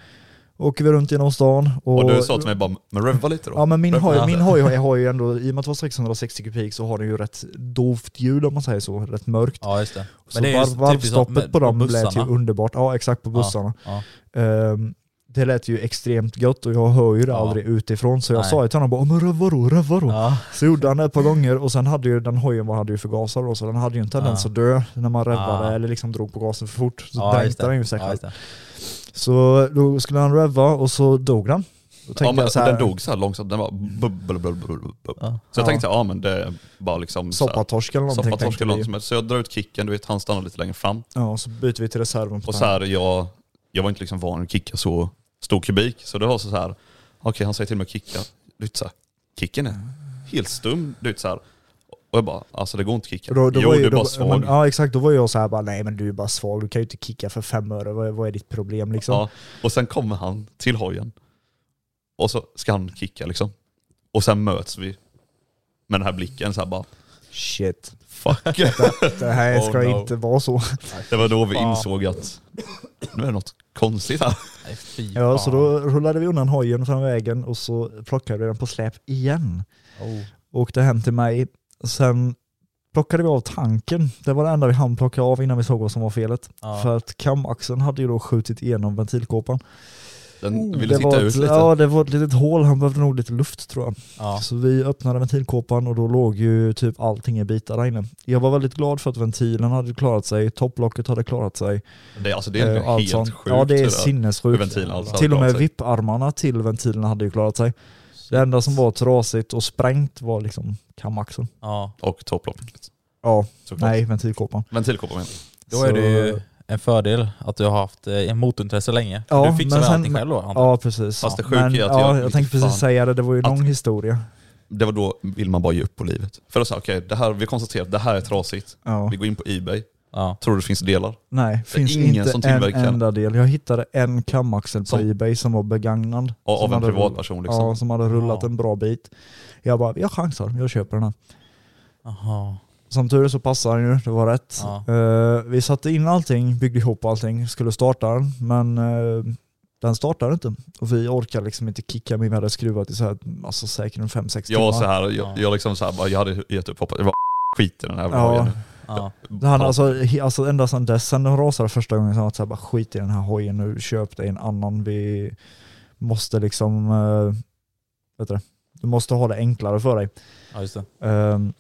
C: åker vi runt genom stan. Och,
D: Och du sa till mig bara, men revva lite då.
C: Ja men min
D: Revva
C: hoj,
D: lite.
C: min hoj, hoj har ju ändå, i och med att det var 660 kubik så har den ju rätt dovt ljud om man säger så, rätt mörkt.
B: Ja just det.
C: så
B: det är ju
C: varv,
B: typiskt
C: varvstoppet
B: med-
C: på dem lät ju
B: bussarna.
C: underbart. Ja exakt, på
B: Ja,
C: bussarna.
B: ja.
C: Ehm, det lät ju extremt gött och jag hör ju det
B: Ja.
C: aldrig utifrån så jag
B: Nej.
C: sa ju till honom bara "Ja, men rövva då, rövva då.
B: Ja.
C: Så gjorde han det ett par gånger och sen hade ju den hojen var hade ju förgasare då, så den hade ju en tendens
B: Ja.
C: att dö när man revvade
B: Ja.
C: eller liksom drog på gasen för fort. Så
B: Ja, just
C: dränkte den ju
B: det.
C: säkert.
B: Ja, just det.
C: Så då skulle han revva och så dog den. Då tänkte
D: Ja, men
C: jag så här,
D: Den dog så här långsamt, den var bubb, bubb, bubb, bubb, bubb.
B: Ja.
D: Så jag
C: Ja.
D: tänkte så här, ja men det är bara liksom så här-
C: Soppatorsk eller någonting.
D: soppatorsk
C: tänkte
D: eller något
C: vi.
D: som helst. Så jag drar ut kicken, du vet han stannar lite längre fram.
C: Ja, så byter vi till reserven på
D: Och
C: den.
D: så här, jag, jag var inte liksom van att kicka så stor kubik. Så det var så här, okej han säger till mig att kicka. Du vet så här, kicken är helt stum. Du vet så här. Och jag bara, alltså det går inte att kicka.
C: Och då, då
D: jo
C: var
D: du
C: ju,
D: är
C: då,
D: bara svag.
C: Men, ja exakt, då var jag så här bara nej men du är bara svag, du kan ju inte kicka för fem öre, vad, är- vad är ditt problem liksom?
D: Ja, och sen kommer han till hojen. Och så ska han kicka liksom. Och sen möts vi med den här blicken så här bara,
C: Shit,
D: fuck.
C: det här
D: Oh
C: ska
D: no.
C: inte vara så.
D: det var då vi insåg att nu är det något konstigt här.
B: Nej, fy
C: Ja, så
B: fan.
C: då rullade vi undan hojen från vägen och så plockade vi den på släp igen.
B: Oh.
C: Åkte hem till mig, sen plockade vi av tanken. Det var det enda vi hann plocka av innan vi såg vad som var felet.
B: Ja.
C: För att kamaxeln hade ju då skjutit igenom ventilkåpan.
D: Den
C: Oh,
D: ville
C: var
D: titta
C: ett,
D: ut lite.
C: Ja, det var ett litet hål. Han behövde nog lite luft tror jag.
B: Ja.
C: Så vi öppnade ventilkåpan och då låg ju typ allting i bitar där inne. Jag var väldigt glad för att ventilen hade klarat sig, topplocket hade klarat sig.
D: Det, är- alltså, det är
C: eh,
D: helt,
C: allt
D: helt
C: sånt.
D: sjukt.
C: Ja, det är
D: där.
C: sinnessjukt.
D: Hur ventilen alls hade
C: till och med
D: klarat sig.
C: vipparmarna till ventilerna hade ju klarat sig. Det enda som var trasigt och sprängt var liksom kamaxeln.
B: Ja.
D: Och topplocket.
C: Ja,
D: såklart.
C: nej ventilkåpan.
D: Ventilkåpan menar jag.
B: Då är
C: Så-
B: det ju en fördel att du har haft eh, en motorintresse länge.
C: Ja,
B: du fixar
C: men
B: väl
C: sen-
B: allting själv då? antar jag?
C: Ja precis.
D: Fast det sjuka
C: Men,
D: är att jag-
C: ja, jag
D: vilket
C: tänkte
D: fan.
C: precis säga det, det var ju
D: Att-
C: lång historia.
D: Det var då vill man bara ge upp på livet. För då sa jag, okej, det här vi konstaterar att det här är trasigt.
C: Ja.
D: Vi går in på Ebay.
B: Ja.
D: Tror du det finns delar?
C: Nej, finns
D: ingen
C: inte
D: som
C: en
D: tillverkar.
C: enda del. Jag hittade en kamaxel på
D: Som-
C: Ebay som var begagnad.
D: Ja, av
C: som
D: en
C: hade-
D: privatperson liksom.
C: Ja, som hade rullat
B: Ja.
C: en bra bit. Jag bara, jag chansar, jag köper den här.
B: Jaha.
C: Som tur är så passade den ju, det var rätt.
B: Ja.
C: Eh, vi satte in allting, byggde ihop allting, skulle starta den, men eh, den startade inte. Och vi orkade liksom inte kicka med, vi hade skruvat i så här, alltså säkert en 5-6
D: Jag
C: timmar.
D: var så här,
B: Ja.
D: jag, jag liksom så här, bara, jag hade gett upp hoppet. Jag bara, skit i den här
C: Ja.
D: hojen.
B: Ja.
C: Han, alltså, he- alltså ända sedan dess, sen den rasade första gången, så har han såhär bara skit i den här hojen nu, köp dig en annan, vi måste liksom, eh, vet du, det, du måste ha det enklare för dig.
B: ja, just det.
C: Ehm,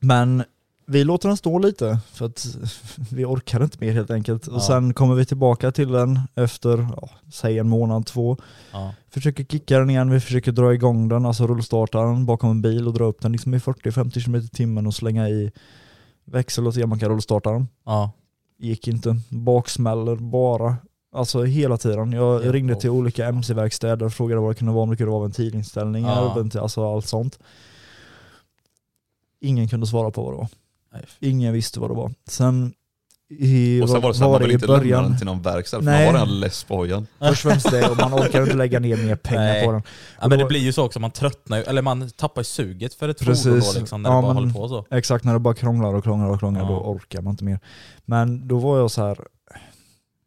C: men vi låter den stå lite, för att vi orkar inte mer helt enkelt. Och
B: Ja.
C: sen kommer vi tillbaka till den efter, ja, säg en månad, två.
B: Ja.
C: Försöker kicka den igen, vi försöker dra igång den, alltså rullstarta den bakom en bil och dra upp den liksom i 40-50 km i timmen och slänga i växel och se om man kan rullstarta den
B: Ja.
C: gick inte. Baksmäller bara. Alltså hela tiden. Jag
B: Ja,
C: ringde
B: och-
C: till olika mc-verkstäder och frågade vad det kunde vara, om det kunde vara ventilinställningar,
B: Ja.
C: ventil, alltså allt sånt. Ingen kunde svara på vad det var.
B: Nej, fy-
C: Ingen visste vad det var. Sen i,
D: och sen
C: vad-
D: var det så här,
C: vad
D: man vill
C: i
D: inte lämna den till någon verkstad. för Man
C: Nej.
D: var redan less på hojen.
C: Först och främst det, och man orkar inte lägga ner mer pengar
B: Nej.
C: på den.
B: Ja, men det
C: då-
B: blir ju så också, man tröttnar ju, eller man tappar ju suget för ett
C: Precis.
B: fordon då liksom, när
C: Ja,
B: det bara
C: men-
B: håller på så.
C: Exakt, när det bara krånglar och krånglar och krånglar,
B: Ja.
C: då orkar man inte mer. Men då var jag så här,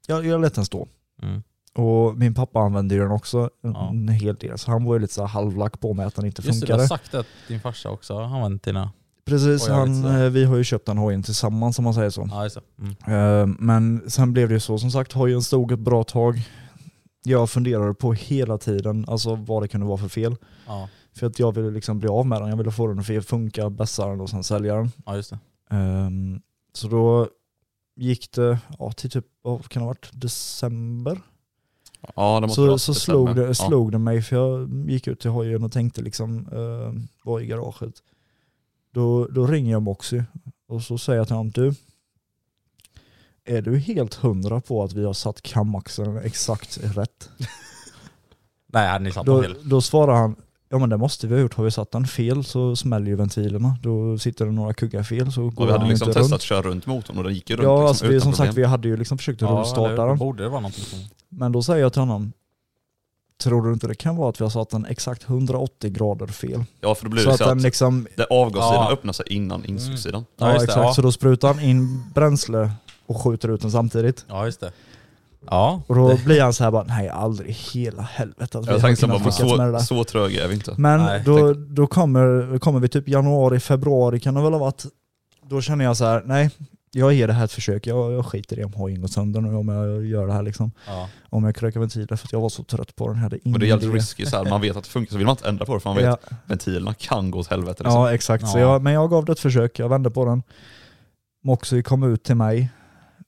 C: jag, jag lät den stå.
B: Mm.
C: Och min pappa använde ju den också en-
B: Ja.
C: en hel del, så han var ju lite så här halvlack på mig att den inte
B: Just det, du har
C: funkade.
B: sagt att din farsa också har använt dina...
C: Precis,
B: Och jag
C: han,
B: lite så här.
C: eh, vi har ju köpt den hojen tillsammans om man säger så.
B: Ja, just det. Mm.
C: Eh, Men sen blev det ju så, som sagt hojen stod ett bra tag. Jag funderade på hela tiden alltså vad det kunde vara för fel.
B: Ja.
C: För att jag ville liksom bli av med den, jag ville få den att funka, bästa den och sen sälja den.
B: ja, just det.
C: Ehm, så då gick det ja, till typ, vad kan det ha varit, december?
D: Ja, det måste
C: Så,
D: vara
C: så
D: december.
C: slog, det,
D: Ja.
C: slog det mig, för jag gick ut till hojen och tänkte liksom, eh, var i garaget. Då, då ringer jag Moxie och så säger jag till honom, du, är du helt hundra på att vi har satt kamaxeln exakt rätt?
B: Nej, hade ni satt dem
C: Då,
B: fel?
C: då svarar han, ja men det måste vi ha gjort, har vi satt den fel så smäller ju ventilerna, då sitter det några kuggar fel så går
D: Och vi hade
C: den
D: liksom
C: inte
D: testat
C: runt.
D: att köra runt motorn och den gick ju runt
C: Ja,
D: liksom,
C: alltså, vi,
D: utan
C: som
D: problem.
C: sagt vi hade ju liksom försökt rullstarta
B: eller
C: den.
B: borde det vara någonting som...
C: Men då säger jag till honom, tror du inte det kan vara att vi har satt den exakt 180 grader fel?
D: Ja, för då blir
C: så
D: det
C: att
D: så
C: den
D: att
C: liksom,
D: det avgassidan
B: Ja.
D: öppnar sig innan insugssidan.
B: Ja,
C: ja,
B: just det,
C: exakt,
B: ja.
C: så då sprutar han in bränsle och skjuter ut den samtidigt.
B: Ja, just det. Ja.
C: Och då blir han så här bara, nej aldrig i hela helvetet att vi
D: Jag
C: har
D: tänkte
C: kunnat
D: bara, men
C: lyckas med det
D: så,
C: där. Mm,
D: så trög är vi inte.
C: Men
B: Nej,
C: då, då kommer, kommer vi typ januari, februari kan det väl ha varit. Då känner jag så här, nej, jag ger det här ett försök. Jag, jag skiter i om hojen går sönder nu om jag gör det här liksom.
B: ja.
C: Om jag krökar ventiler för att jag var så trött på den. Jag hade ingen
D: Men det är jävligt
C: idé.
D: risky så här. man vet att det funkar så vill man inte ändra på det för man vet
C: ja,
D: att ventilerna kan gå åt helvete. Liksom.
C: ja, exakt. Så
B: Ja.
C: jag, men jag gav det ett försök, jag vände på den. Moxie kom ut till mig.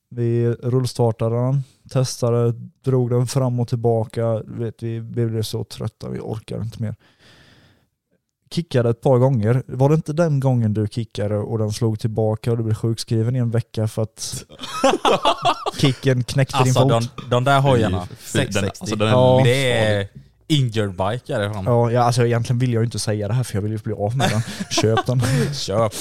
C: Vi rullstartade den, testade, drog den fram och tillbaka. Du Vet, vi blev så trötta, vi orkade inte mer. Kickade ett par gånger. Var det inte den gången du kickade och den slog tillbaka och du blev sjukskriven i en vecka för att kicken knäckte
B: Alltså
C: din fot?
B: de, de där hojarna,
D: Fy- fy- den-
B: 660.
D: alltså, den är
C: Ja.
D: livsfarlig.
B: det är injured bike är det fan.
C: Ja, ja, alltså egentligen vill jag ju inte säga det här för jag vill ju bli av med den. Köp den.
B: Köp.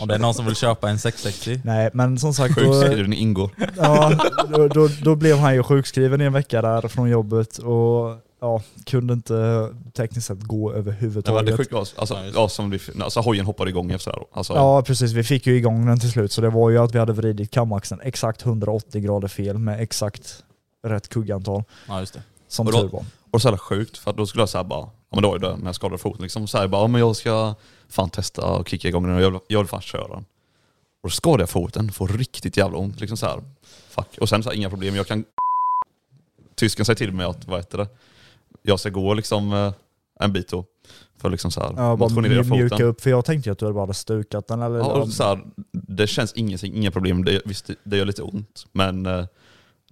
B: Om det är någon som vill köpa en 660.
C: Nej, men som sagt. då-
D: Sjukskrivning ingår.
C: Ja, då, då, då blev han ju sjukskriven i en vecka där från jobbet och ja, kunde inte tekniskt sett gå
D: Det var det
C: överhuvudtaget.
D: sjuka var, alltså, ja, som vi, alltså hojen hoppade igång efter det här. Alltså,
C: Ja precis, vi fick ju igång den till slut så det var ju att vi hade vridit kamaxeln exakt 180 grader fel med exakt rätt kuggantal
B: Ja just det.
C: som
D: Och då-
C: tur var.
D: Och så jävla sjukt för att då skulle jag säga bara, ja men då är det när jag skadade foten liksom. Så här, bara, ja, men jag ska fan testa och kicka igång den och jag vill, jag vill fan köra den. Och då skadade jag foten, får riktigt jävla ont. Liksom så här, fuck. Och sen så här, inga problem, jag kan... Tysken säger till mig att, vad heter det, jag ska gå liksom eh, en bit då. För liksom så här,
C: Ja, bara
D: motionera
C: mj- mjuka
D: foten.
C: upp för jag tänkte ju att du hade bara stukat den eller...
D: Ja, och så här, det känns ingenting, inga problem. Det, visst, det gör lite ont, men eh,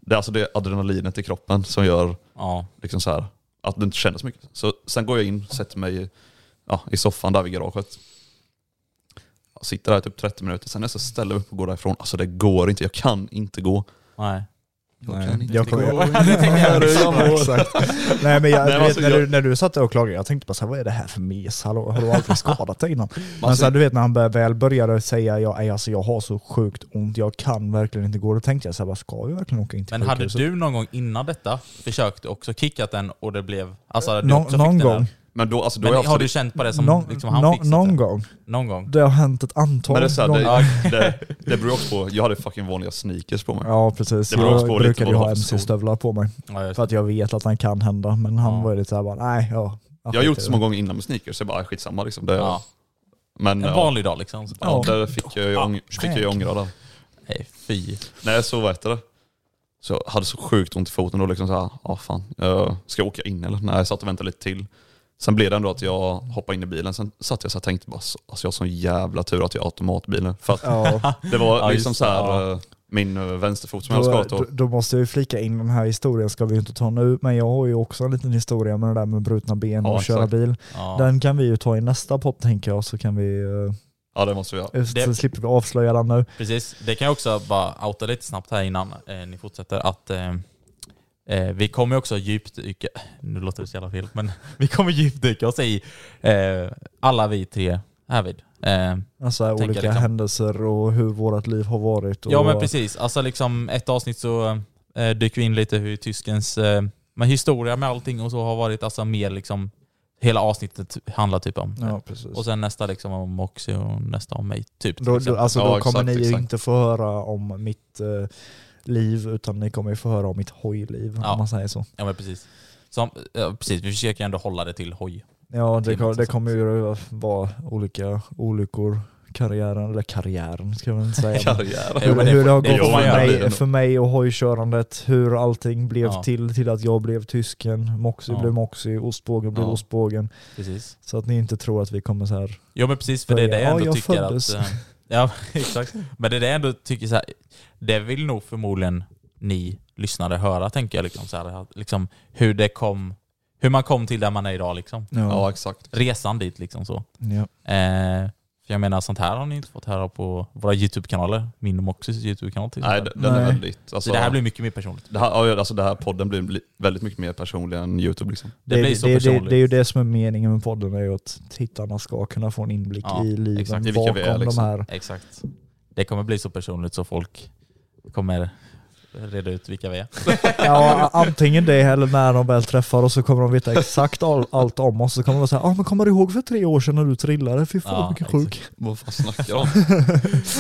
D: det är alltså det adrenalinet i kroppen som gör
B: Ja.
D: liksom så här, att det inte känns mycket. Så sen går jag in, sätter mig i- ja, i soffan där vid garaget. Jag sitter där i typ 30 minuter, sen är jag så ställer jag mig upp och går därifrån. Alltså det går inte, jag kan inte gå.
B: Nej.
D: Jag
C: Nej,
D: kan inte
C: jag
D: gå.
C: kommer-
D: Det tänker jag också.
C: Ja, exakt. Nej men jag,
D: Nej,
C: du
D: men
C: vet,
D: alltså,
C: när,
D: jag-
C: du, när du satt där och klagade, jag tänkte bara så här, vad är det här för mes? Hallå, har du aldrig skadat dig innan?
D: Man
C: Men så här,
D: ser-
C: du vet när han bör- väl började säga jag, är, alltså, jag har så sjukt ont, jag kan verkligen inte gå. Då tänkte jag så här, bara, ska vi verkligen åka in till
B: Men hade
C: sjukhuset?
B: du någon gång innan detta försökt också kickat den och det blev... Alltså du
C: Nå-
B: också
C: någon
B: fick den
C: gång.
B: där.
D: Men då, alltså, då
B: Men
D: är jag
B: har du
D: absolut-
B: känt på det som
C: Någon-
B: liksom han
C: nå-
B: fixat
C: någon
B: det?
C: gång.
B: Någon gång?
C: Det har hänt ett antal
D: Men det, är så här,
C: gånger.
D: det, det, det beror också på, jag hade fucking vanliga sneakers på mig.
C: Ja precis,
D: Det beror också på
C: jag
D: lite
C: brukade
D: vad
C: ju
D: du
C: ha
D: har för skor.
C: mc-stövlar på mig.
B: Ja, just
C: För
B: det.
C: att jag vet att den kan hända, men han
B: Ja.
C: var ju lite såhär bara, nej ja.
D: Jag har gjort det så många gånger innan med sneakers, så jag bara skitsamma liksom. Det,
B: Ja.
D: Men
B: En
D: ja,
B: vanlig dag liksom.
D: ja,
C: Ja.
D: där fick jag ju ång- fick jag ju ångra där.
B: Nej fy.
D: Nej, så vad heter det? Så jag hade så sjukt ont i foten då liksom såhär, ja fan, eh, ska jag åka in eller? Nej, jag satt och väntade lite till. Sen blev det ändå att jag hoppade in i bilen, sen satt jag så här och tänkte bara, så- alltså jag har sån jävla tur att jag har automatbilen. För att
C: ja.
D: det var
B: Ja, just
D: liksom
B: det,
D: såhär,
B: ja.
D: eh, min eh, vänsterfot som jag har
C: Då,
D: skadat
C: då,
D: då.
C: då måste jag ju flika in den här historien, ska vi ju inte ta nu, men jag har ju också en liten historia med det där med brutna ben
D: Ja,
C: och köra
D: exakt.
C: bil.
B: Ja.
C: Den kan vi ju ta i nästa podd tänker jag, så kan vi, eh,
D: Ja det måste vi göra.
C: så slipper vi avslöja den nu.
B: Precis, det kan jag också bara outa lite snabbt här innan eh, ni fortsätter att eh, eh, vi kommer också djupdyka, nu låter det så jävla fel, men vi kommer djupdyka oss i eh, alla vi tre härvid. Eh,
C: Alltså här
B: tänker
C: olika
B: liksom-
C: händelser och hur vårt liv har varit. Och,
B: ja men precis, alltså liksom ett avsnitt så eh, dyker vi in lite hur tyskens eh, men historia med allting och så har varit alltså mer liksom hela avsnittet handlar typ om.
C: Ja, precis.
B: Och sen nästa liksom om Moxie och nästa om mig typ. till
C: Då, då,
B: exempel.
C: alltså, då
D: Ja,
C: kommer
D: exakt,
C: ni ju
D: exakt.
C: inte få höra om mitt eh, liv, utan ni kommer ju få höra om mitt hojliv,
B: Ja.
C: om man säger så.
B: ja men precis. Som, ja, precis, vi försöker ändå hålla det till hoj.
C: Ja, det,
B: Timmar
C: kom,
B: som
C: det kommer ju vara olika olyckor, karriären, eller karriären ska man inte säga. men-
D: Karriär.
B: Jo,
C: Hur,
B: men det
C: hur det har
B: får- det
C: gått
B: får man
C: för
B: göra.
D: Det är
C: mig,
D: nog-
C: för mig och hojkörandet, hur allting blev
B: Ja.
C: till, till att jag blev tysken, Moxie
B: Ja.
C: blev Moxie, ostbågen blev
B: Ja.
C: ostbågen.
B: Precis.
C: Så att ni inte tror att vi kommer så här.
B: Ja men precis, för det är det
C: Ja,
B: jag ändå
C: jag
B: tycker
C: föddes.
B: att... eh, Ja exakt. Men det är det jag ändå tycker så här, det vill nog förmodligen ni lyssnare höra tänker jag. Liksom, så här, att liksom, hur, det kom, hur man kom till där man är idag liksom.
D: Ja exakt.
B: Resan dit liksom så.
C: Ja.
B: Eh, för jag menar sånt här har ni inte fått höra på våra YouTube-kanaler. Min och Moxys YouTube-kanal till
D: Nej
B: exempel.
D: d- den
C: Nej.
D: är väldigt, alltså,
B: Så det här blir mycket mer personligt.
D: det här, ja, alltså det här podden blir li- väldigt mycket mer personlig än youtube liksom.
B: Det, blir så
C: det, det,
B: personligt.
C: det är ju det som är meningen med podden, är ju att tittarna ska kunna få en inblick
B: Ja,
C: i liven
B: exakt.
D: I vilka vi är,
C: bakom
D: liksom.
C: de här.
B: Exakt. Det kommer bli så personligt så folk kommer reda ut vilka vi är.
C: Ja, antingen det eller när de väl träffar oss så kommer de veta exakt all, allt om oss. Så kommer de säga ah, men kommer du ihåg för tre år sedan när du trillade? Fy fan
B: Ja,
C: vilken
B: exakt.
C: sjuk.
D: Vad fan snackar jag om?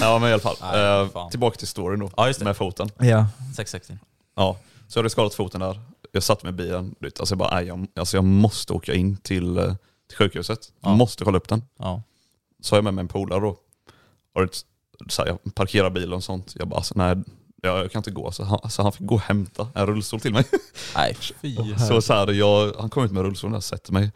D: ja men i alla fall.
B: Nej,
D: eh,
B: fan.
D: tillbaka till storyn då,
B: Ja, just det.
D: med foten.
C: Ja.
B: 660.
D: Ja, så jag hade skadat foten där. Jag satt med bilen, du vet, alltså jag bara, nej, jag, alltså jag måste åka in till, eh, till sjukhuset.
B: Ja.
D: Måste kolla upp den.
B: Ja.
D: Så har jag med mig en polare då. Och det, så här, jag parkerar bilen och sånt. Jag bara, alltså, nej, jag, jag kan inte gå. Så han, så han fick gå och hämta en rullstol till mig.
B: Nej, fy.
D: Så, så här, jag, han kom ut med rullstolen där, sätter mig.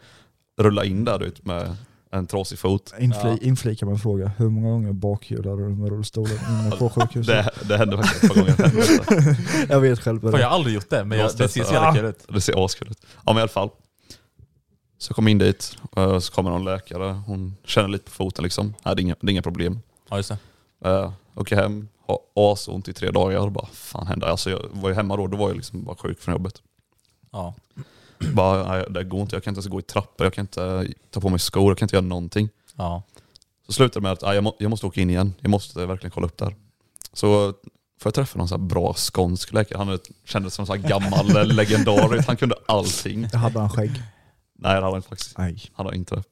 D: Rullar in där du vet, med en trasig fot.
C: Infli,
B: Ja.
C: Inflika med en fråga, hur många gånger bakhjulade du med rullstolen inne på sjukhuset?
D: Det, det hände faktiskt ett par gånger.
C: jag vet själv.
B: Fan, jag
C: Berätta.
B: har aldrig gjort det, men jag,
D: Måste
B: det ser så
D: jag-
B: jävla kul ut.
D: Det ser askul ut. Ja men i alla fall. Så jag kom in dit, eh, så kommer någon läkare, hon känner lite på foten liksom. Nej, det, är inga, det är inga problem.
B: Ja, just det.
D: Uh, åker hem, har asont i tre dagar. Bara, fan hände? Alltså, jag var ju hemma då, då var jag liksom bara sjuk från jobbet.
B: Ja.
D: Bara, nej, det går inte, jag kan inte ens gå i trappor, jag kan inte ta på mig skor, jag kan inte göra någonting.
B: Ja.
D: Så slutade det med att nej, jag, må, jag måste åka in igen, jag måste verkligen kolla upp där. Så får jag träffa någon så här bra skånsk läkare, han kändes som en sån här gammal legendar, han kunde allting.
C: Hade han skägg?
D: Nej det hade han faktiskt
C: Nej.
D: Han har inte det.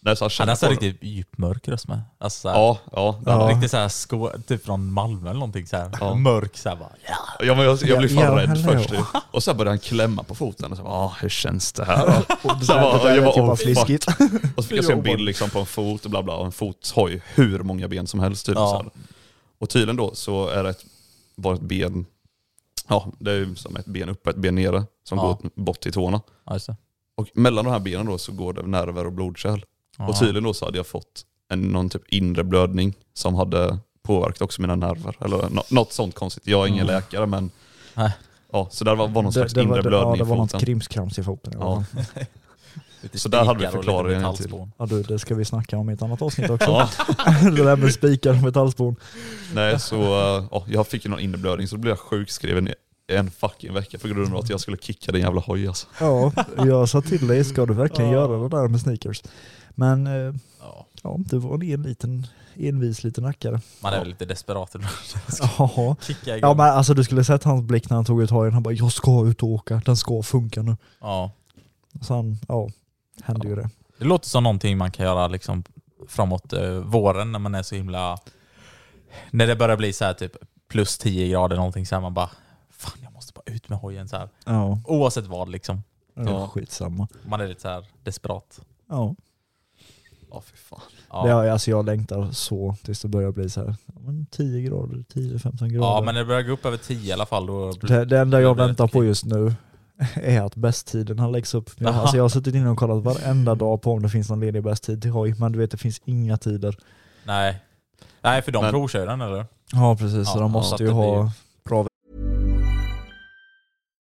D: Nej, så han
B: Han
D: känner
B: har så
D: på
B: här
D: det.
B: riktigt djup mörk röst med. Alltså, så här,
D: Ja, ja. det hade han.
B: Riktigt såhär, sko- typ från Malmö eller någonting såhär.
D: Ja.
B: Mörk såhär bara. Ja.
D: ja men jag, jag blev fan
C: Ja, ja,
D: rädd
C: hallå.
D: först. ju. Och sen började han klämma på foten och så bara, ah, hur känns det här då? Och så
C: Det
D: bara,
C: där
D: jag
C: lät ju
D: bara,
C: bara
D: "Oh, fuck."
C: fliskigt.
D: Och så fick jag se en bild liksom, på en fot och bla bla. Och en fot har ju hur många ben som helst tydligen.
B: Ja.
D: så här. Och tydligen då så är det ett, bara ett ben, ja det är ju som ett ben upp och ett ben nere som
B: Ja.
D: går bort till tårna.
B: ja, just det.
D: Och mellan de här benen då så går det nerver och blodkärl.
B: Ja.
D: Och tydligen då så hade jag fått en, någon typ inre blödning som hade påverkat också mina nerver. Eller nå- något sånt konstigt. Jag är ingen
B: Mm.
D: läkare men
B: Nej.
D: ja, så där var, var någon
C: Det,
D: slags
C: det,
D: inre
C: var, det, ja,
D: blödning
C: det var
D: i
C: något
D: foten.
C: krimskrams i foten. i alla
D: Ja.
C: fall.
B: Lite
D: så där hade vi
B: spikar och lite
D: förklaringen till.
B: metallspån.
C: Ja, du, det ska vi snacka om i ett annat avsnitt också.
D: Ja,
C: det där med spikar och metallspån.
D: nej, så, eh, ja, jag fick ju någon inre blödning så då blev jag sjukskriven i en fucking vecka på grund av att jag skulle kicka din jävla hoj alltså.
C: Ja, jag sa till dig, ska du verkligen göra det där med sneakers? Men eh,
B: Ja.
C: ja, du var en liten, envis liten rackare.
B: Man är
D: Ja.
B: väl lite desperat ibland.
C: Ja.
B: Kicka igång.
C: ja, men alltså du skulle sett hans blick när han tog ut hojen. Han bara, jag ska ut och åka, den ska funka nu.
B: ja.
C: Så han, ja, hände ju det.
B: Det låter som någonting man kan göra liksom framåt eh, våren när man är så himla... När det börjar bli så här typ plus 10 grader någonting så här man bara Fan jag måste bara ut med hojen så här.
C: Ja,
B: Oavsett vad liksom.
C: ja. skitsamma.
B: Man är lite så här desperat.
C: Ja.
D: Ja fy fan.
B: Ja.
C: Det, har jag- alltså jag längtar så tills det börjar bli så här, ja, men 10 grader, 10-15 grader.
B: ja men när det börjar gå upp över 10 i alla fall då...
C: Det, det enda jag
B: Det blir
C: väntar
B: ett
C: på
B: klipp.
C: just nu är att bästtiderna läggs upp. Jag,
B: Jaha.
C: alltså jag har suttit inne och kollat varenda dag på om det finns någon ledig bästtid till hoj, men du vet det finns inga tider.
B: Nej. Nej för de
D: Men-
B: provkör den eller?
C: Ja precis,
B: Ja,
C: så de
B: ja.
C: måste
B: Så
C: ju
B: att det
C: ha
B: blir-
C: bra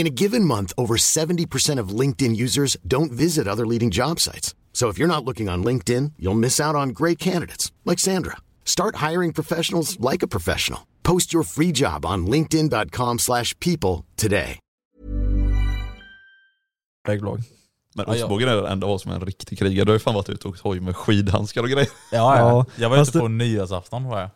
E: In a given month, over 70% of LinkedIn users don't visit other leading job sites. So if you're not looking on LinkedIn, you'll miss out on great candidates like Sandra. Start hiring professionals like a professional. Post your free job on linkedin.com/people slash people today.
C: väglag.
D: Men
B: Ja, ja.
D: Ostbågen är den enda av oss som är en riktig krigare. Du har ju fan varit ute och åkt hoj med skidhandskar och grejer.
B: Ja, ja.
C: Ja,
B: jag var ju
C: fast
B: ute
C: det-
B: på nyårsafton var jag.